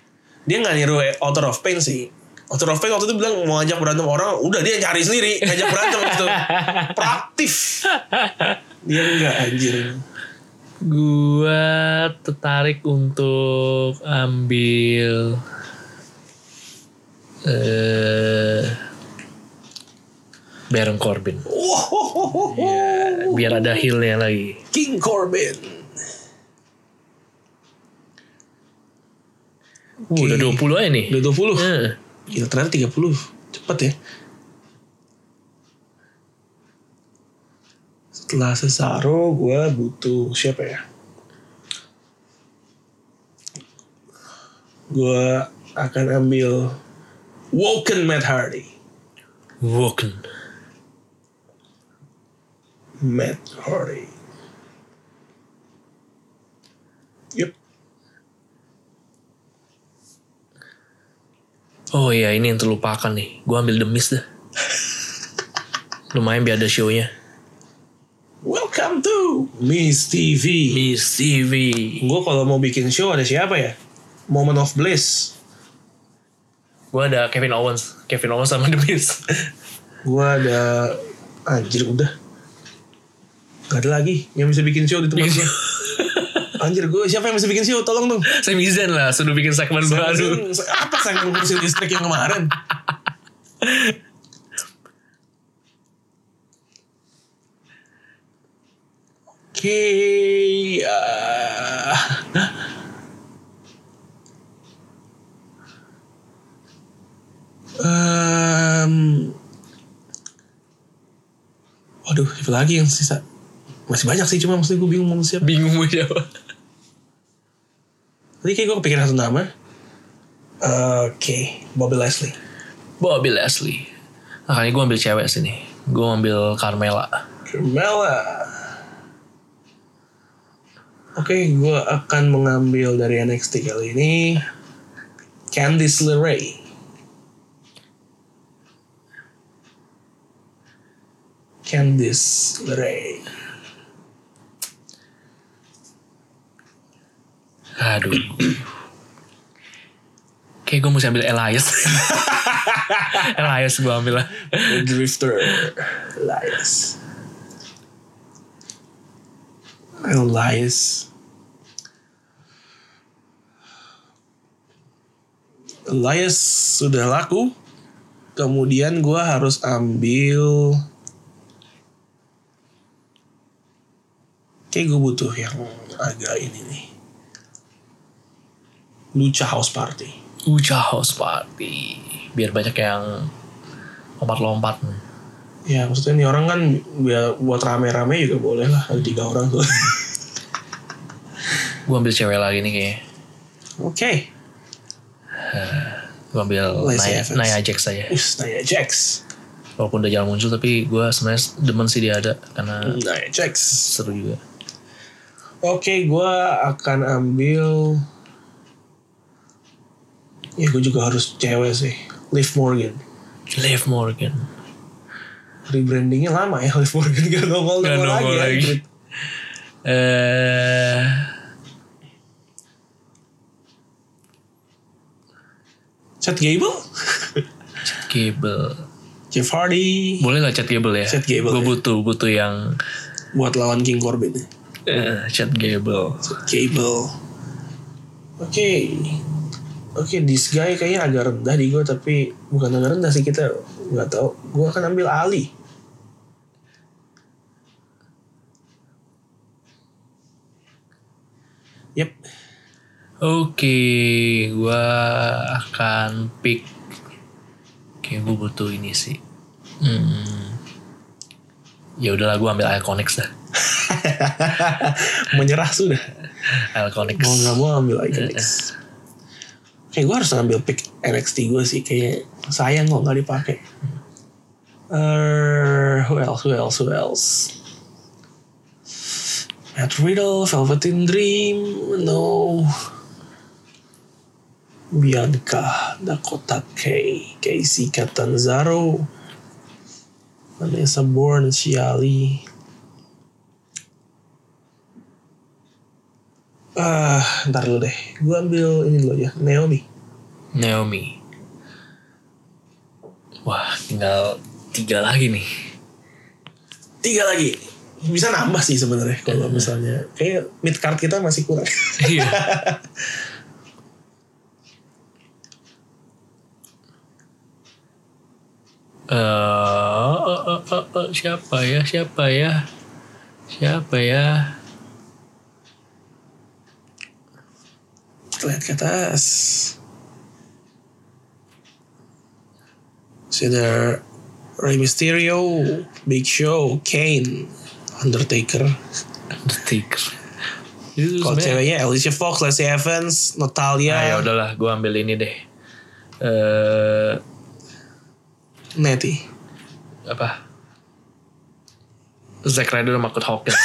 Speaker 1: dia nggak niru Author of Pain sih Author of Pain waktu itu bilang mau ngajak berantem orang udah dia cari sendiri ngajak berantem gitu proaktif dia enggak anjir
Speaker 2: gue tertarik untuk ambil eh Baron Corbin Iya, biar ada healnya lagi
Speaker 1: King Corbin
Speaker 2: Uh, udah 20 aja nih
Speaker 1: udah 20
Speaker 2: Eh.
Speaker 1: gila ternyata 30 cepet ya setelah Cesaro gue butuh siapa ya gue akan ambil Woken Matt Hardy
Speaker 2: Woken
Speaker 1: Matt Hardy. Yep.
Speaker 2: Oh iya ini yang terlupakan nih Gue ambil demis dah Lumayan biar ada show-nya
Speaker 1: Welcome to Miss TV.
Speaker 2: Miss TV
Speaker 1: Gue kalau mau bikin show ada siapa ya? Moment of Bliss.
Speaker 2: Gue ada Kevin Owens Kevin Owens sama demis
Speaker 1: Gue ada anjir udah. Gak ada lagi yang bisa bikin show di tempat gue. Anjir gue siapa yang bisa bikin show? Tolong dong.
Speaker 2: Sami Zayn lah Sudah bikin segmen baru
Speaker 1: Saya- saya- Apa saya ngurusin listrik yang kemarin? Oke, ya. ah. Em, waduh, siapa lagi yang sisa? Masih banyak sih, cuma maksudnya gue bingung mau siapa.
Speaker 2: Bingung mau siapa
Speaker 1: Tadi kayak gue kepikiran satu nama. Oke, Bobby Leslie.
Speaker 2: Bobby Leslie Makanya gue ambil cewek sini Gue ambil Carmela
Speaker 1: Carmella. Oke, gue akan mengambil dari NXT kali ini Candice LeRae. Candice LeRae.
Speaker 2: Aduh Kayak gue mesti ambil Elias Elias gue ambil lah
Speaker 1: The Drifter. Elias. Elias. Elias sudah laku. Kemudian gue harus ambil... Kayak gue butuh yang agak ini nih. Lucha House Party.
Speaker 2: Uja House Party biar banyak yang lompat-lompat
Speaker 1: Ya maksudnya ini orang kan ya, buat rame-rame juga boleh lah. Ada tiga orang tuh.
Speaker 2: gue ambil cewek lagi nih kayaknya
Speaker 1: Oke.
Speaker 2: Gue ambil
Speaker 1: Lacey
Speaker 2: Nia,
Speaker 1: Evans.
Speaker 2: Nia Jax aja.
Speaker 1: Us, Nia Jax.
Speaker 2: Walaupun udah jarang muncul tapi gue sebenarnya demen sih dia ada karena
Speaker 1: Nia Jax.
Speaker 2: seru juga.
Speaker 1: Oke, gua akan ambil... Ya, gue juga harus cewek sih. Liv Morgan.
Speaker 2: Liv Morgan.
Speaker 1: Rebrandingnya lama ya, Liv Morgan. Gak nongol
Speaker 2: Gak nongol lagi.
Speaker 1: lagi. ya.
Speaker 2: Eh
Speaker 1: Chad Gable?
Speaker 2: Gable.
Speaker 1: Jeff Hardy.
Speaker 2: Boleh lah Chad Gable ya?
Speaker 1: Chad Gable,
Speaker 2: Gue
Speaker 1: ya.
Speaker 2: butuh butuh yang
Speaker 1: Buat lawan King Corbin.
Speaker 2: eh, Chad
Speaker 1: Oh.
Speaker 2: Gable.
Speaker 1: Cable. Oke. Oke, this guy kayaknya agak rendah di gue tapi bukan agak rendah sih kita nggak tahu. Gue akan ambil Ali. Yep.
Speaker 2: Oke, gua akan pick. Kayak gue butuh ini sih. Hmm. Ya udahlah, gua ambil Iconics dah.
Speaker 1: Menyerah sudah.
Speaker 2: Iconics.
Speaker 1: Mau nggak mau ambil Iconics. Kayak gue harus ambil pick NXT gue sih. Kayak sayang kok nggak dipakai. Eh, who else? Who else? Who else? Matt Riddle, Velveteen Dream, no. Bianca, Dakota Kay, Casey Catanzaro, Vanessa Bourne, Shiali. Ah, ntar dulu deh. Gue ambil ini dulu aja, Naomi.
Speaker 2: Naomi. Wah, tinggal tiga lagi nih.
Speaker 1: tiga lagi bisa nambah sih sebenarnya kalau misalnya kayak mid card kita masih kurang
Speaker 2: Iya. Eh, eh, eh, eh, eh, siapa ya? Siapa ya? Siapa ya?
Speaker 1: Kita lihat ke atas Cedar Rey Mysterio Big Show Kane Undertaker
Speaker 2: Undertaker. Itu
Speaker 1: kalau
Speaker 2: sebenarnya-
Speaker 1: ceweknya Alicia Fox Lacey Evans
Speaker 2: Ah, ya
Speaker 1: Natalia
Speaker 2: udahlah, gue ambil ini deh. Eh,
Speaker 1: Nettie
Speaker 2: apa? Zack Ryder sama Kurt Hawkins.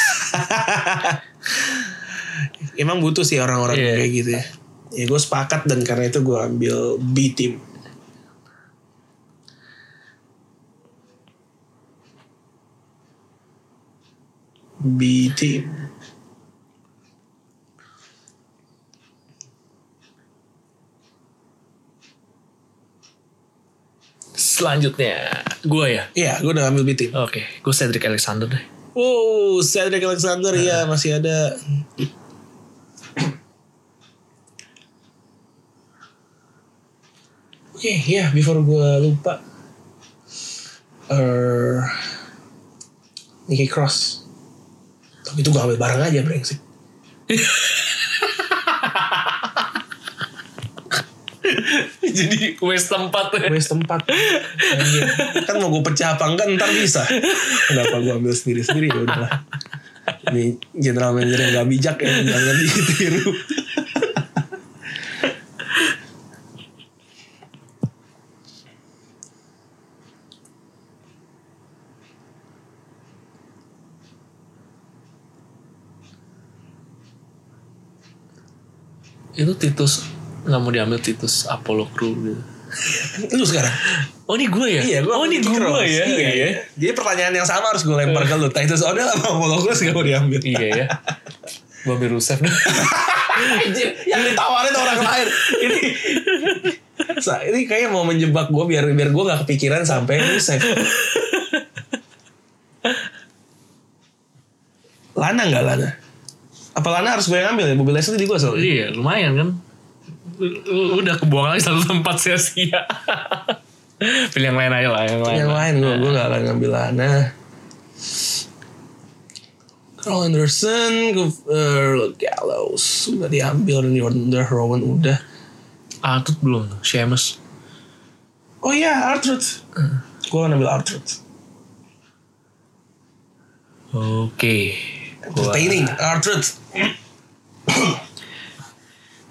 Speaker 1: emang butuh sih orang-orang
Speaker 2: Iya.
Speaker 1: kayak gitu ya ya gue sepakat dan karena itu gue ambil B team B team
Speaker 2: Selanjutnya, gue ya.
Speaker 1: Iya, gue udah ambil B team.
Speaker 2: Oke, gue Cedric Alexander deh.
Speaker 1: Wow, Cedric Alexander ya masih ada. Oke, ya before gue lupa. Er, Nicky Cross. Tapi itu gue ambil bareng aja brengsek.
Speaker 2: Jadi waste tempat. ya.
Speaker 1: Waste tempat. Anjing. kan mau gue pecah apa enggak ntar bisa. Kenapa gue ambil sendiri-sendiri ya udahlah. Ini general manager yang gak bijak ya jangan ditiru.
Speaker 2: Itu Titus nggak mau diambil Titus Apollo Crew gitu.
Speaker 1: Lu sekarang.
Speaker 2: Oh ini gue ya?
Speaker 1: Iya, gua
Speaker 2: oh ini
Speaker 1: Nicky
Speaker 2: gue
Speaker 1: Cross.
Speaker 2: ya?
Speaker 1: Iya,
Speaker 2: Iya.
Speaker 1: Jadi pertanyaan yang sama harus gue lempar ke lu. Titus Odell apa Apollo Crews gak mau diambil?
Speaker 2: Iya ya. Gue ambil Rusev deh.
Speaker 1: Anjir, yang ditawarin orang lain. Ini Sa- ini kayaknya mau menjebak gue biar biar gue gak kepikiran sampai lu save. Lana nggak Lana? Apa Lana harus gue yang ambil ya? Bobby Lashley di gue soalnya.
Speaker 2: iya lumayan kan. U- u- Udah kebuang lagi satu tempat sia-sia. Pilih yang lain aja lah. Yang lain.
Speaker 1: Yang
Speaker 2: lah.
Speaker 1: lain gue gue gak akan ngambil Lana. Carl Anderson, Gu- eh, Gallows udah diambil Randy Orton udah Rowan udah.
Speaker 2: Atut belum Ah, tuh. Sheamus.
Speaker 1: Oh iya Artruth. Gue akan ambil Artruth.
Speaker 2: Oke. Gua-
Speaker 1: Entertaining Artruth.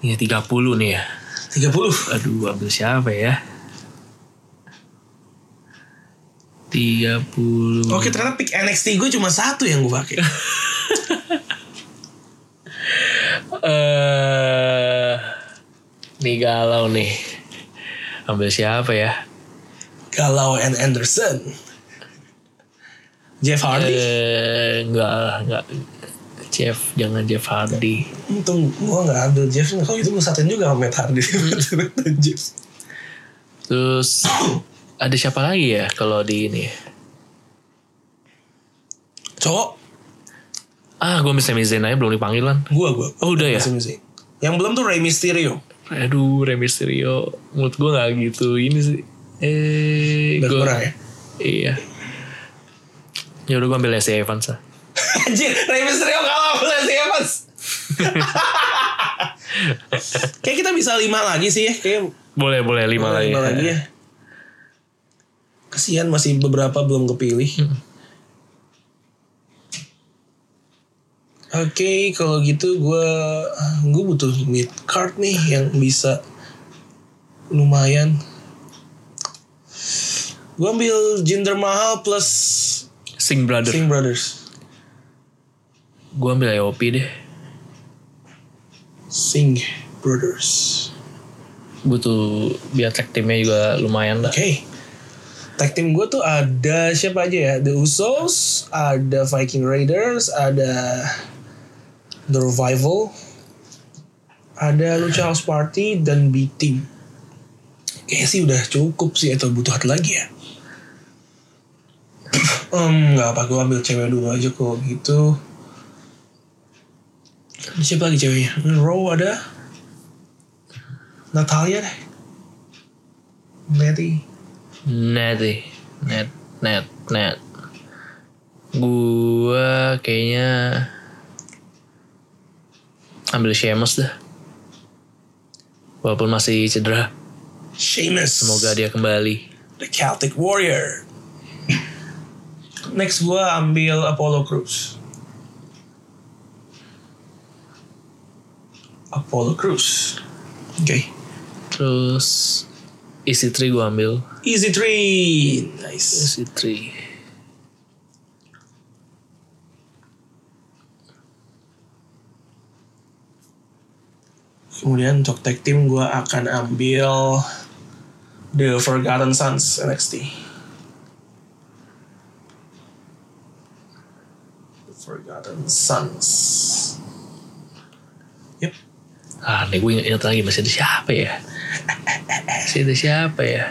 Speaker 2: Ini 30 Iya, nih ya.
Speaker 1: 30.
Speaker 2: Aduh, ambil siapa ya? 30.
Speaker 1: Oke, ternyata pick NXT gue cuma satu yang gue pakai.
Speaker 2: Eh, nih galau nih. Ambil siapa ya?
Speaker 1: Galau and Anderson. Jeff Hardy.
Speaker 2: Eh, enggak lah, enggak. Jeff, jangan Jeff Hardy.
Speaker 1: Untung gue gak ambil Jeff. Kalau gitu gue satuin juga sama Matt Hardy. Ternyata Jeff.
Speaker 2: Terus ada siapa lagi ya kalau di ini?
Speaker 1: Cowok.
Speaker 2: Ah, gue bisa Zayn aja belum dipanggil kan.
Speaker 1: Gue, gue.
Speaker 2: Oh, udah ya?
Speaker 1: Masih-masih. Yang belum tuh Rey Mysterio.
Speaker 2: Aduh, Rey Mysterio. Menurut gue gak gitu. Ini sih. Eh,
Speaker 1: Udah
Speaker 2: gua-
Speaker 1: kurang ya?
Speaker 2: Iya. Ya udah gue ambil Lacey Evans lah.
Speaker 1: Anjir, Rey Mysterio kalah sama Leslie Evans. Kayak kita bisa lima lagi sih ya. Kayak
Speaker 2: Boleh, boleh. Lima lagi.
Speaker 1: lima lagi ya. Kasihan masih beberapa belum kepilih. Oke, kalau gitu gue gue butuh mid card nih yang bisa lumayan. Gue ambil Jinder Mahal plus
Speaker 2: Sing Brother.
Speaker 1: Singh Brothers.
Speaker 2: Gue ambil AOP deh.
Speaker 1: Sing Brothers.
Speaker 2: Butuh biar tag timnya juga lumayan lah.
Speaker 1: Oke. Tag team gue tuh ada siapa aja ya? The Usos, ada Viking Raiders, ada The Revival, ada Lucha House Party dan B Team. Kayaknya sih udah cukup sih atau butuh satu lagi ya? Em, nggak apa gue ambil cewek dulu aja kok gitu. Siapa lagi ceweknya? Row ada Natalia deh. Nettie.
Speaker 2: Net deh. Net, net, net. Gue kayaknya ambil Sheamus dah. Walaupun masih cedera.
Speaker 1: Sheamus.
Speaker 2: Semoga dia kembali.
Speaker 1: The Celtic Warrior. Next gua ambil Apollo Crews. Apollo Crews. Oke.
Speaker 2: Terus EC3 gue ambil
Speaker 1: Easy three. Nice.
Speaker 2: EC3
Speaker 1: Kemudian untuk tag team gua akan ambil The Forgotten Sons NXT. The Forgotten Sons. Yep.
Speaker 2: Ah nih gue ingat lagi masih ada siapa ya Masih ada siapa ya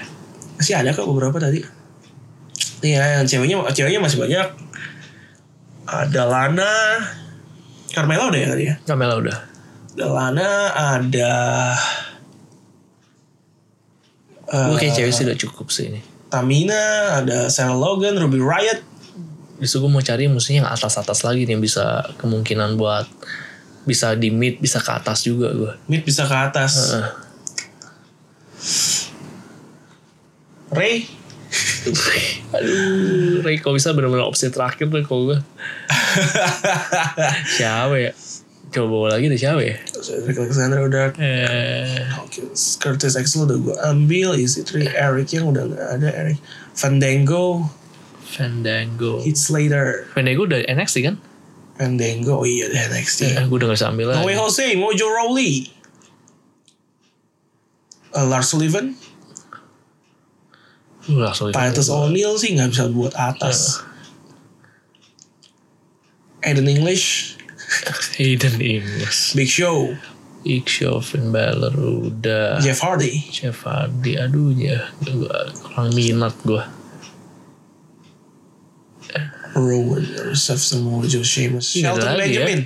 Speaker 1: Masih ada kok beberapa tadi. Iya, yang ceweknya ceweknya masih banyak. Ada Lana, Carmela udah ya tadi ya.
Speaker 2: Kamela udah
Speaker 1: Ada Lana, ada eh,
Speaker 2: Gue kayak cewek sih udah cukup sih ini
Speaker 1: Tamina, ada Sarah Logan, Ruby Riot.
Speaker 2: Justru gue mau cari musuhnya yang atas-atas lagi nih Yang bisa kemungkinan buat Bisa di mid bisa ke atas juga gue
Speaker 1: Mid bisa ke atas.
Speaker 2: Heeh.
Speaker 1: Ray,
Speaker 2: Aduh Ray kalau bisa bener-bener opsi terakhir tuh kalau gue Siapa ya Coba bawa lagi deh siapa ya
Speaker 1: Cedric Alexander udah,
Speaker 2: Eh,
Speaker 1: Hawkins, Curtis Axel udah gue ambil, Easy Tree, Eric yang udah gak ada, Eric, Fandango,
Speaker 2: Fandango
Speaker 1: Heath Slater,
Speaker 2: Fandango udah NXT kan?
Speaker 1: Fandango, oh iya ya? deh
Speaker 2: Eh,
Speaker 1: NXT.
Speaker 2: gue udah gak bisa ambil
Speaker 1: No Way
Speaker 2: lagi.
Speaker 1: Jose, Mojo Rawley, Uh, Lars Sullivan,
Speaker 2: Lu langsung
Speaker 1: Titus O'Neil sih nggak bisa buat atas. Aiden English,
Speaker 2: Hayden English.
Speaker 1: Big Show,
Speaker 2: Big Show, Finn Balor, udah.
Speaker 1: Jeff Hardy,
Speaker 2: Jeff Hardy, aduh ya. Gua kurang minat gue.
Speaker 1: Rowan, Rusev, Samoa Joe, Sheamus,
Speaker 2: Iya,
Speaker 1: Shelton
Speaker 2: ada lagi ya.
Speaker 1: Benjamin.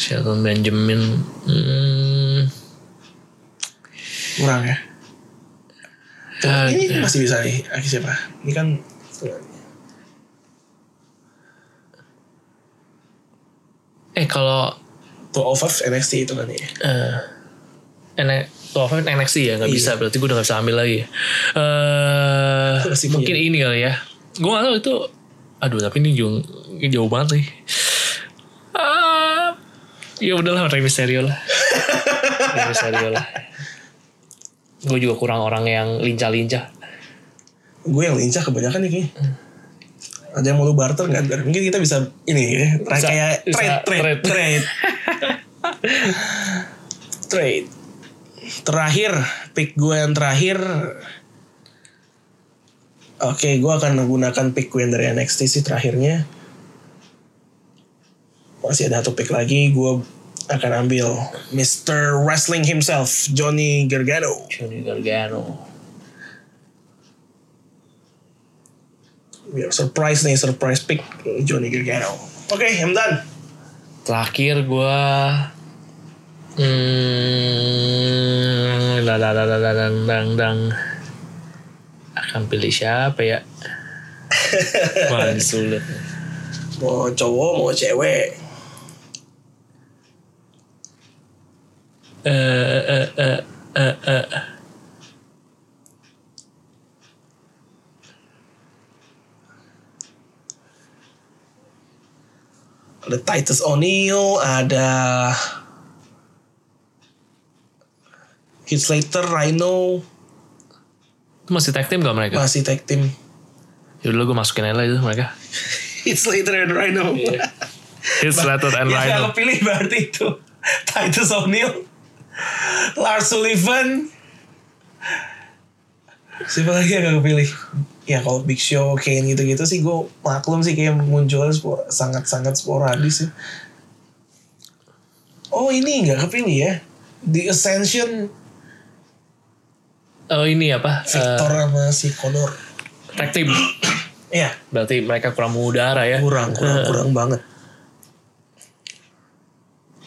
Speaker 2: Shelton Benjamin. Hmm,
Speaker 1: kurang ya
Speaker 2: Ah,
Speaker 1: ini
Speaker 2: iya.
Speaker 1: masih bisa nih Aki siapa ini kan
Speaker 2: eh kalau
Speaker 1: tuh of NXT itu kan ya
Speaker 2: eh N- Tuh, apa, NXT ya nggak
Speaker 1: Iya.
Speaker 2: bisa berarti gue udah gak bisa ambil lagi. Eh
Speaker 1: Masih punya.
Speaker 2: mungkin ini kali ya. Gue gak tahu itu. Aduh tapi ini jauh, ini jauh banget Eh, sih. Ah, ya udahlah Rey Mysterio lah. Rey Mysterio lah. gue juga kurang orang yang lincah-lincah
Speaker 1: Gue yang lincah kebanyakan nih kayaknya. Ada yang mau lu barter nggak? Dar? Mungkin kita bisa ini ya, tra-
Speaker 2: Hmm. Bisa-
Speaker 1: kayak
Speaker 2: bisa
Speaker 1: trade, trade,
Speaker 2: trade.
Speaker 1: trade, trade. Terakhir, pick gue yang terakhir. Oke, gue akan menggunakan pick gue yang dari NXT sih terakhirnya. Masih ada satu pick lagi, gue akan ambil Mr. Wrestling himself, Johnny Gargano.
Speaker 2: Johnny Gargano
Speaker 1: We are surprise nih, surprise pick Johnny Gargano. Oke, I'm done.
Speaker 2: terakhir gue hmm, la la la la la dang dang dang akan pilih siapa ya Wah, ini sulit.
Speaker 1: Mau cowok, mau cewek.
Speaker 2: Eh, eh, eh, eh, eh, eh.
Speaker 1: Ada Titus O'Neil, ada... Heath Slater, Rhino,
Speaker 2: Itu masih tag team gak mereka?
Speaker 1: masih tag team.
Speaker 2: Yaudah gue masukin aja lah itu mereka.
Speaker 1: Heath Slater and Rhino.
Speaker 2: Hits Letter and
Speaker 1: Yang
Speaker 2: Rhino.
Speaker 1: gak kepilih berarti itu. Titus O'Neil, Lars Sullivan. Siapa lagi yang gak kepilih? Ya kalau Big Show, Kane gitu-gitu sih gue maklum sih kayak muncul spor- sangat-sangat sporadis sih. Oh ini gak kepilih ya? The Ascension
Speaker 2: Oh ini apa?
Speaker 1: Victor
Speaker 2: Eh,
Speaker 1: sama si Connor.
Speaker 2: tag team.
Speaker 1: Iya,
Speaker 2: Berarti mereka kurang mengudara ya.
Speaker 1: kurang, kurang, kurang banget.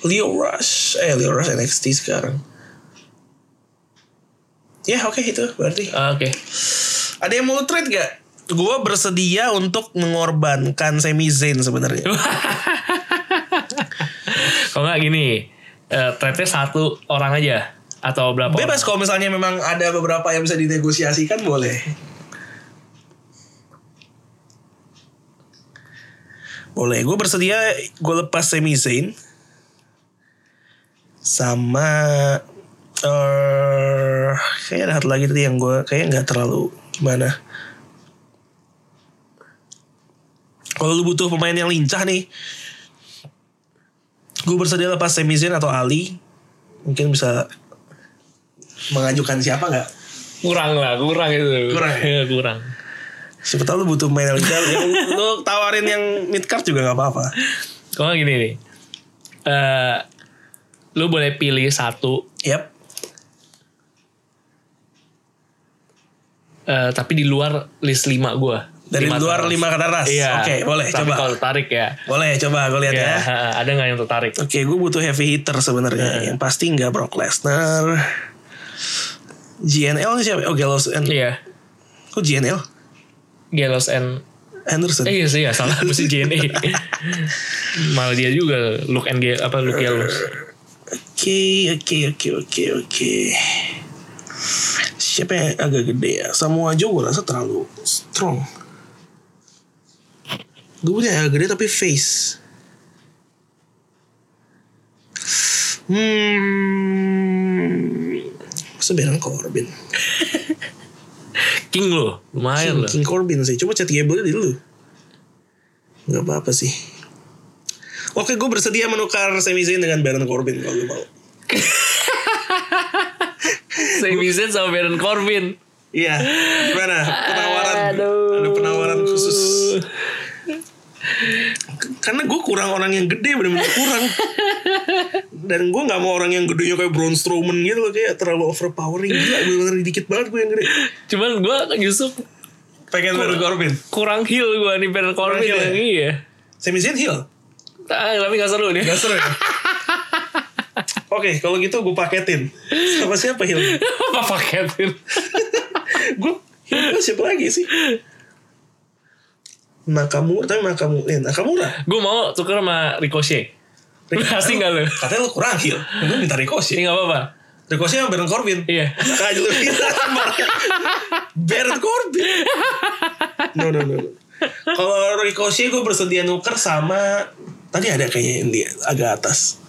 Speaker 1: Leo Rush, eh Leo Rush NXT sekarang. Ya oke itu berarti.
Speaker 2: Ah, Oke.
Speaker 1: Ada yang mau lu trade gak? Gue bersedia untuk mengorbankan Sami Zayn sebenarnya.
Speaker 2: Kalau nggak gini, eh trade-nya satu orang aja atau berapa?
Speaker 1: Bebas kalau misalnya memang ada beberapa yang bisa dinegosiasikan boleh. Boleh, gue bersedia gue lepas Sami Zayn sama eh kayaknya ada satu lagi tadi yang gue kayaknya nggak terlalu gimana. Kalau lu butuh pemain yang lincah nih, gue bersedia lepas Sami Zayn atau Ali, mungkin bisa mengajukan siapa nggak?
Speaker 2: Kurang lah, kurang itu.
Speaker 1: Kurang ya?
Speaker 2: Iya, kurang.
Speaker 1: Siapa tahu lu butuh main yang lincah, yang lu tawarin yang mid card juga nggak apa-apa.
Speaker 2: Kalau nggak gini nih. Eh lu boleh pilih satu
Speaker 1: Yap.
Speaker 2: eh tapi di luar list lima gua.
Speaker 1: Dari luar
Speaker 2: teras.
Speaker 1: lima ke atas.
Speaker 2: Iya.
Speaker 1: Oke, boleh
Speaker 2: Tapi
Speaker 1: coba.
Speaker 2: kalau tertarik ya.
Speaker 1: Boleh coba gue lihat
Speaker 2: ya.
Speaker 1: ya.
Speaker 2: ha, ha, Ada nggak yang tertarik?
Speaker 1: Oke, gue butuh heavy hitter
Speaker 2: Iya.
Speaker 1: sebenarnya. Yang pasti nggak Brock Lesnar. GNL nih siapa? Oh, Gallows and
Speaker 2: Iya.
Speaker 1: kok GNL?
Speaker 2: Gallows and
Speaker 1: Anderson.
Speaker 2: Eh iya sih ya salah mesti JNE. Malah dia juga look and Gale- apa look yellow.
Speaker 1: Oke, oke, oke, oke, oke. Siapa yang agak gede ya? Samoa Joe gue rasa terlalu strong. Gue punya yang agak gede tapi face. Hmm. Masa Baron Corbin?
Speaker 2: King lo,
Speaker 1: King,
Speaker 2: lumayan loh.
Speaker 1: King Corbin sih. Coba chat Gable di dulu. Gak apa-apa sih. Oke, gue bersedia menukar Sami Zayn dengan Baron Corbin kalau lu mau.
Speaker 2: Sami Zayn sama Baron Corbin.
Speaker 1: Iya, gimana penawaran? Ada penawaran khusus. K- Karena gue kurang orang yang gede bener-bener kurang. Dan gue nggak mau orang yang gedenya kayak Braun Strowman gitu loh kayak terlalu overpowering gila bener-bener dikit banget gue yang gede.
Speaker 2: Cuman gue justru
Speaker 1: Pengen Baron Corbin.
Speaker 2: kurang heel gue nih Baron Corbin
Speaker 1: heel
Speaker 2: yang
Speaker 1: ya?
Speaker 2: iya.
Speaker 1: Sami Zayn heel.
Speaker 2: Ah, tapi gak seru dia.
Speaker 1: Gak seru ya? Oke, kalau gitu gue paketin. Sama siapa heel?
Speaker 2: apa paketin?
Speaker 1: gue heel siapa lagi sih? Nakamura, tapi Nakamura, eh, Nakamura.
Speaker 2: gue mau tuker sama Ricochet. Pasti nggak lu?
Speaker 1: Katanya lu kurang heel. Lu minta
Speaker 2: Ini
Speaker 1: Ricochet.
Speaker 2: gak apa-apa.
Speaker 1: Ricochet yang Baron Corbin.
Speaker 2: Iya.
Speaker 1: Makanya lu bilang kemarin, Baron Corbin. No, no, no. no. Kalau Ricochet gue bersedia nuker sama... Tadi ada kayaknya yang dia agak atas.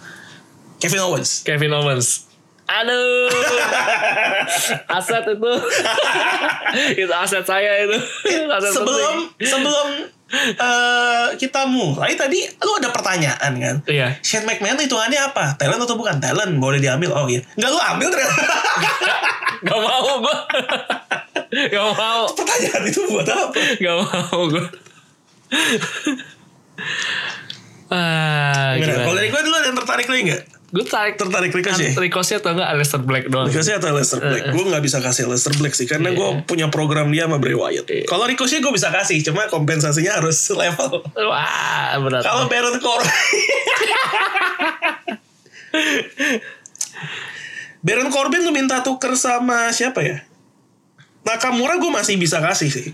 Speaker 1: Kevin Owens.
Speaker 2: Kevin Owens. Aduh, aset itu, itu aset saya itu. Aset
Speaker 1: sebelum
Speaker 2: penting.
Speaker 1: sebelum eh, kita mulai tadi lu ada pertanyaan kan
Speaker 2: iya,
Speaker 1: Shane McMahon hitungannya apa? Talent atau bukan? Talent boleh diambil. Oh iya. Enggak lu ambil ternyata.
Speaker 2: gak mau gue, gak mau,
Speaker 1: Pertanyaan itu buat apa?
Speaker 2: gak mau gue.
Speaker 1: Gimana? Kalau
Speaker 2: ah, gimana?
Speaker 1: dari gue dulu ada yang tertarik lagi enggak?
Speaker 2: Gue tarik
Speaker 1: Tertarik Ricochet?
Speaker 2: Ricochet atau enggak Aleister Black doang?
Speaker 1: Ricochet atau Lester Black? Gue nggak bisa kasih Lester Black sih karena gue punya program dia sama Bray Wyatt. Kalau Ricochet gue bisa kasih, cuma kompensasinya harus level.
Speaker 2: Wah, berat.
Speaker 1: Kalau Baron Corbin, Baron Corbin lu minta tuker sama siapa ya? Nakamura gue masih bisa kasih sih.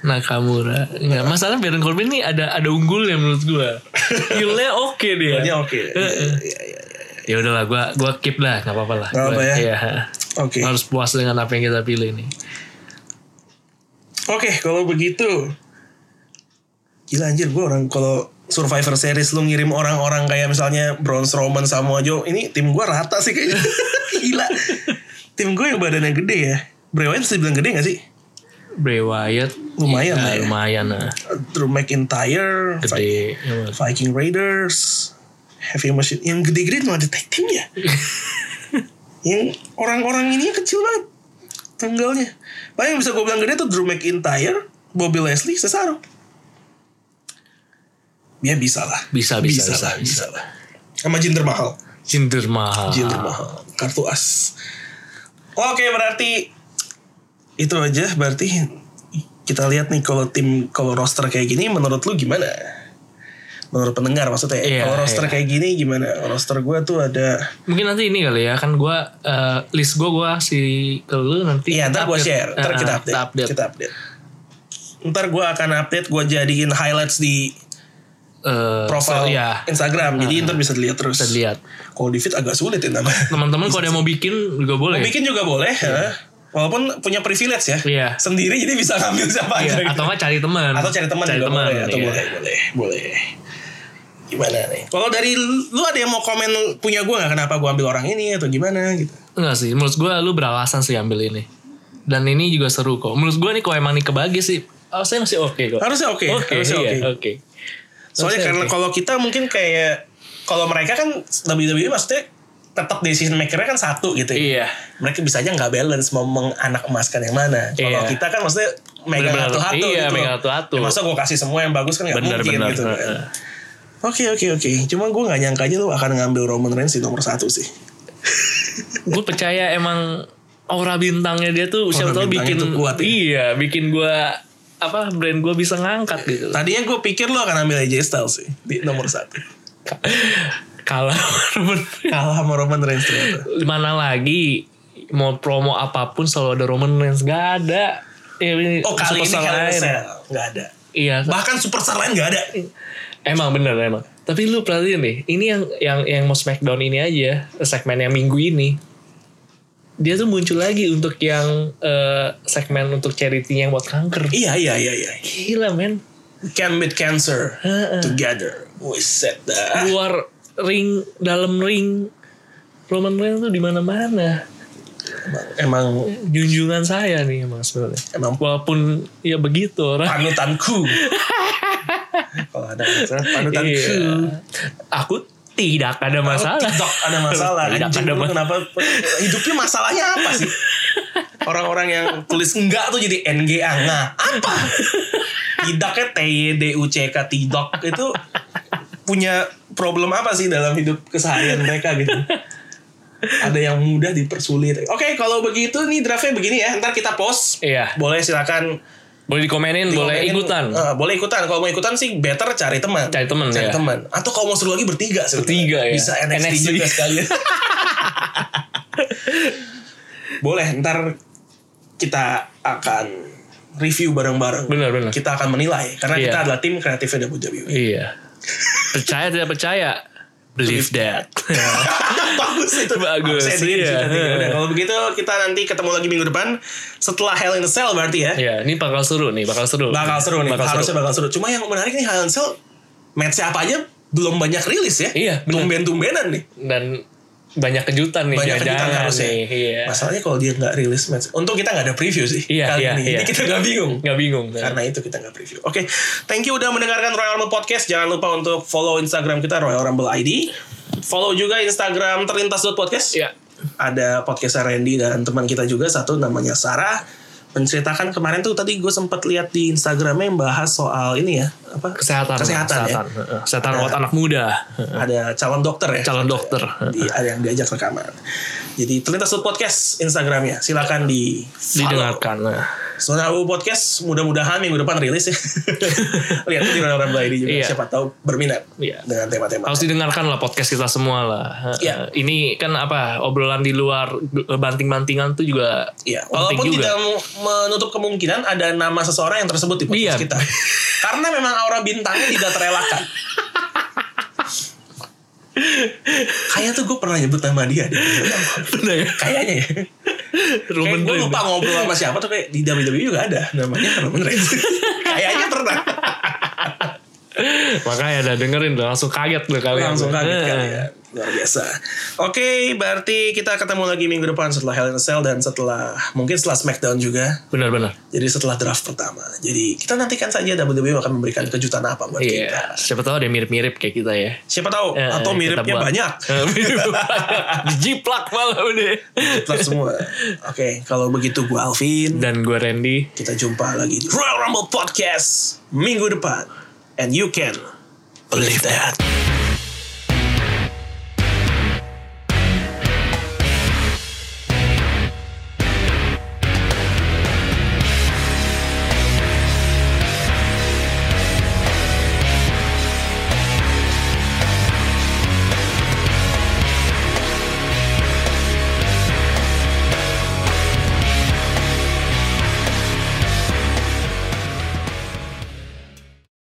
Speaker 2: Nakamura. Enggak, masalah Baron Corbin nih ada ada unggulnya menurut gua. Heal-nya oke
Speaker 1: Ini
Speaker 2: dia.
Speaker 1: Iya, oke.
Speaker 2: Ya udahlah gua gua keep lah, enggak apa-apa lah.
Speaker 1: Nggak apa
Speaker 2: Gua-
Speaker 1: ya?
Speaker 2: Iya.
Speaker 1: Oke.
Speaker 2: Harus puas dengan apa yang kita pilih nih.
Speaker 1: Oke, kalau begitu. Gila anjir gue orang kalau Survivor Series lu ngirim orang-orang kayak misalnya Braun Strowman Samoa Joe, ini tim gue rata sih kayaknya. Gila. tim gue yang badannya gede ya. Bray Wyatt bisa bilang gede gak sih?
Speaker 2: Bray Wyatt
Speaker 1: Lumayan
Speaker 2: ya,
Speaker 1: lah ya.
Speaker 2: lumayan lah.
Speaker 1: Drew McIntyre, Vi-
Speaker 2: Gede. Ya, Mas.
Speaker 1: Viking Raiders, Heavy Machine. Yang gede-gede cuma ada tag teamnya. yang orang-orang ini kecil banget tanggalnya. Paling yang bisa gue bilang gede tuh Drew McIntyre, Bobby Leslie, Cesaro. Dia bisa lah.
Speaker 2: Bisa, bisa, bisa,
Speaker 1: lah,
Speaker 2: bisa.
Speaker 1: bisa lah. Sama Jinder Mahal.
Speaker 2: Jinder Mahal.
Speaker 1: Jinder Mahal. Kartu as. Oke berarti itu aja berarti kita lihat nih kalau tim kalau roster kayak gini menurut lu gimana? Menurut pendengar maksudnya.
Speaker 2: Iya,
Speaker 1: kalau roster
Speaker 2: iya.
Speaker 1: kayak gini gimana? Roster gue tuh ada
Speaker 2: Mungkin nanti ini kali ya kan gua eh, list gua gua kasih ke lu nanti.
Speaker 1: Iya, ntar gue
Speaker 2: update.
Speaker 1: share, ntar
Speaker 2: Eh,
Speaker 1: kita
Speaker 2: eh,
Speaker 1: update. Kita update. Ntar gue akan update, gue jadiin highlights di
Speaker 2: Eh,
Speaker 1: profile
Speaker 2: so, ya,
Speaker 1: Instagram. Jadi ntar bisa dilihat terus.
Speaker 2: bisa dilihat.
Speaker 1: Kalau di feed agak sulit ya nama.
Speaker 2: Teman-teman kalau ada yang mau bikin juga boleh.
Speaker 1: Bikin juga boleh. ya. Walaupun punya privilege ya.
Speaker 2: Iya.
Speaker 1: Sendiri jadi bisa ngambil siapa aja. gitu.
Speaker 2: Iya, atau nggak cari teman.
Speaker 1: Atau cari teman juga boleh. ya, Atau
Speaker 2: iya.
Speaker 1: boleh, boleh, boleh. Gimana nih? Kalau dari lu ada yang mau komen punya gue nggak kenapa gue ambil orang ini atau gimana gitu?
Speaker 2: Enggak sih, menurut gue lu beralasan sih ambil ini. Dan ini juga seru kok. Menurut gue nih kalau emang nih kebagi sih, oh, saya masih oke kok.
Speaker 1: Harusnya oke.
Speaker 2: Oke,
Speaker 1: harusnya
Speaker 2: iya,
Speaker 1: oke.
Speaker 2: oke.
Speaker 1: Soalnya
Speaker 2: Oke,
Speaker 1: karena
Speaker 2: oke.
Speaker 1: kalau kita mungkin kayak kalau mereka kan WWE maksudnya tetap decision makernya kan satu gitu ya.
Speaker 2: Iya.
Speaker 1: Mereka bisa aja nggak balance mau menganak emaskan yang mana. Kalau
Speaker 2: Iya.
Speaker 1: kita kan maksudnya megang
Speaker 2: Bener-bener.
Speaker 1: satu-satu
Speaker 2: Iya,
Speaker 1: gitu.
Speaker 2: megang
Speaker 1: loh.
Speaker 2: satu-satu.
Speaker 1: Ya, masa gue kasih semua yang bagus kan nggak
Speaker 2: Bener,
Speaker 1: mungkin
Speaker 2: bener.
Speaker 1: gitu. kan.
Speaker 2: Heeh.
Speaker 1: Oke oke oke. Cuma gue nggak nyangka aja lu akan ngambil Roman Reigns di nomor satu sih.
Speaker 2: Gue percaya emang aura bintangnya dia tuh siapa tahu
Speaker 1: bintangnya
Speaker 2: bikin
Speaker 1: tuh kuat ya.
Speaker 2: iya, bikin gue apa brand gue bisa ngangkat gitu.
Speaker 1: Tadinya gue pikir lu akan ambil AJ Styles sih di nomor satu.
Speaker 2: Kalau
Speaker 1: Kalah sama Roman Reigns ternyata.
Speaker 2: mana lagi mau promo apapun selalu ada Roman Reigns gak ada. Ya, ini
Speaker 1: Oh kali ini
Speaker 2: superstar
Speaker 1: Hell in a
Speaker 2: lain.
Speaker 1: Cell. nggak ada.
Speaker 2: Iya,
Speaker 1: Bahkan superstar lain nggak ada.
Speaker 2: Emang bener emang. Tapi lu perhatiin nih, ini yang yang yang mau Smackdown ini aja segmen yang minggu ini. Dia tuh muncul lagi untuk yang eh, segmen untuk charity yang buat kanker.
Speaker 1: Iya iya iya iya.
Speaker 2: Gila men.
Speaker 1: Can beat cancer together. We said that.
Speaker 2: Luar ring, dalam ring Roman Reigns tuh di mana-mana.
Speaker 1: Emang
Speaker 2: Junjungan saya nih emang sebenarnya.
Speaker 1: Emang.
Speaker 2: walaupun ya begitu orang.
Speaker 1: panutanku. Kalau ada masalah, panutanku.
Speaker 2: Iya. Aku tidak ada masalah.
Speaker 1: Dok, Oh, ada masalah.
Speaker 2: Tidak
Speaker 1: Anjing,
Speaker 2: ada
Speaker 1: lu
Speaker 2: masalah.
Speaker 1: kenapa hidupnya masalahnya apa sih? Orang-orang yang tulis enggak tuh jadi NGA enggak. Apa? Tidaknya T Y D U C K tidak itu punya problem apa sih dalam hidup keseharian mereka gitu. Ada yang mudah dipersulit. Oke, kalau begitu nih draftnya begini ya. Ntar kita post.
Speaker 2: Iya.
Speaker 1: Boleh silakan
Speaker 2: Boleh dikomenin, boleh
Speaker 1: dikomenin.
Speaker 2: ikutan.
Speaker 1: Eh, boleh ikutan. Kalau mau ikutan sih better cari teman.
Speaker 2: Cari teman,
Speaker 1: Cari
Speaker 2: ya.
Speaker 1: teman. Atau kalau mau seru lagi bertiga sebenarnya.
Speaker 2: Bertiga, ya.
Speaker 1: Bisa NXT,
Speaker 2: NXT.
Speaker 1: juga sekalian. boleh, ntar kita akan review bareng-bareng.
Speaker 2: Benar, benar.
Speaker 1: Kita akan menilai karena
Speaker 2: Iya.
Speaker 1: kita adalah tim kreatifnya E. WWE.
Speaker 2: Iya. Percaya tidak percaya? Believe that.
Speaker 1: Bagus itu.
Speaker 2: Iya. Bagus,
Speaker 1: Saya sendiri di
Speaker 2: iya.
Speaker 1: situ. Udah, Kalau begitu kita nanti ketemu lagi minggu depan setelah Hell in a Cell berarti ya.
Speaker 2: Iya, ini bakal seru nih, bakal seru.
Speaker 1: bakal seru nih
Speaker 2: Bakal
Speaker 1: harusnya
Speaker 2: seru.
Speaker 1: bakal seru cuma yang menarik nih Helen Cell match apa aja belum banyak rilis ya
Speaker 2: Iya, bener.
Speaker 1: tumben tumbenan nih
Speaker 2: Dan banyak kejutan nih
Speaker 1: Banyak
Speaker 2: jangan-jangan
Speaker 1: kejutan harusnya.
Speaker 2: nih. Iya.
Speaker 1: Masalahnya kalau dia nggak rilis match. Untung kita nggak ada preview sih
Speaker 2: Iya,
Speaker 1: kali
Speaker 2: iya,
Speaker 1: ini. Ini
Speaker 2: iya.
Speaker 1: kita nggak bingung.
Speaker 2: nggak bingung kan?
Speaker 1: Karena itu kita nggak preview. Oke, thank you udah mendengarkan Royal Rumble Podcast. Jangan lupa untuk follow Instagram kita Royal Rumble ID. Follow juga Instagram terlintas.podcast.
Speaker 2: Iya.
Speaker 1: Ada podcast Randy dan teman kita juga satu namanya Sarah menceritakan kemarin tuh tadi gue sempat lihat di Instagramnya yang bahas soal ini ya apa
Speaker 2: kesehatan
Speaker 1: kesehatan, ya.
Speaker 2: kesehatan, Heeh. Kesehatan buat anak muda
Speaker 1: ada calon dokter ya
Speaker 2: calon dokter
Speaker 1: di, ada yang diajak rekaman jadi terlintas podcast Instagramnya silakan di follow.
Speaker 2: didengarkan Nah.
Speaker 1: Soalnya aku podcast mudah-mudahan minggu depan rilis ya. Lihat di orang-orang lain juga
Speaker 2: Iya.
Speaker 1: siapa tahu berminat
Speaker 2: Iya.
Speaker 1: dengan tema-tema.
Speaker 2: harus didengarkan lah podcast kita semua lah
Speaker 1: Iya.
Speaker 2: Heeh. ini kan apa obrolan di luar banting-bantingan tuh juga
Speaker 1: Iya,
Speaker 2: penting
Speaker 1: walaupun
Speaker 2: juga
Speaker 1: tidak mu- menutup kemungkinan ada nama seseorang yang tersebut di podcast
Speaker 2: Iya.
Speaker 1: kita. Karena memang aura bintangnya tidak terelakkan. Kayak tuh gue pernah nyebut nama dia. deh.
Speaker 2: Bener ya?
Speaker 1: Kayaknya ya. Kayak
Speaker 2: Roman
Speaker 1: gue
Speaker 2: Reigns.
Speaker 1: lupa ngobrol sama siapa tuh kayak di WWE juga ada namanya Roman Reigns. Kayaknya pernah.
Speaker 2: Makanya ada dengerin udah langsung kaget loh kalian.
Speaker 1: langsung kaget
Speaker 2: Eh.
Speaker 1: kalian luar biasa oke berarti kita ketemu lagi minggu depan setelah Hell in a Cell dan setelah mungkin setelah Smackdown juga
Speaker 2: Benar-benar.
Speaker 1: jadi setelah draft pertama jadi kita nantikan saja WWE akan memberikan kejutan apa buat kita
Speaker 2: Iya. Siapa tahu ada yang mirip-mirip kayak kita ya.
Speaker 1: siapa tahu
Speaker 2: Eh,
Speaker 1: atau
Speaker 2: kita
Speaker 1: miripnya
Speaker 2: buat.
Speaker 1: banyak
Speaker 2: Eh, mirip banyak. Dijiplak malah udah.
Speaker 1: Jiplak semua oke kalau begitu gue Alvin
Speaker 2: Dan gue Randy.
Speaker 1: kita jumpa lagi di Royal Rumble Podcast minggu depan and you can believe that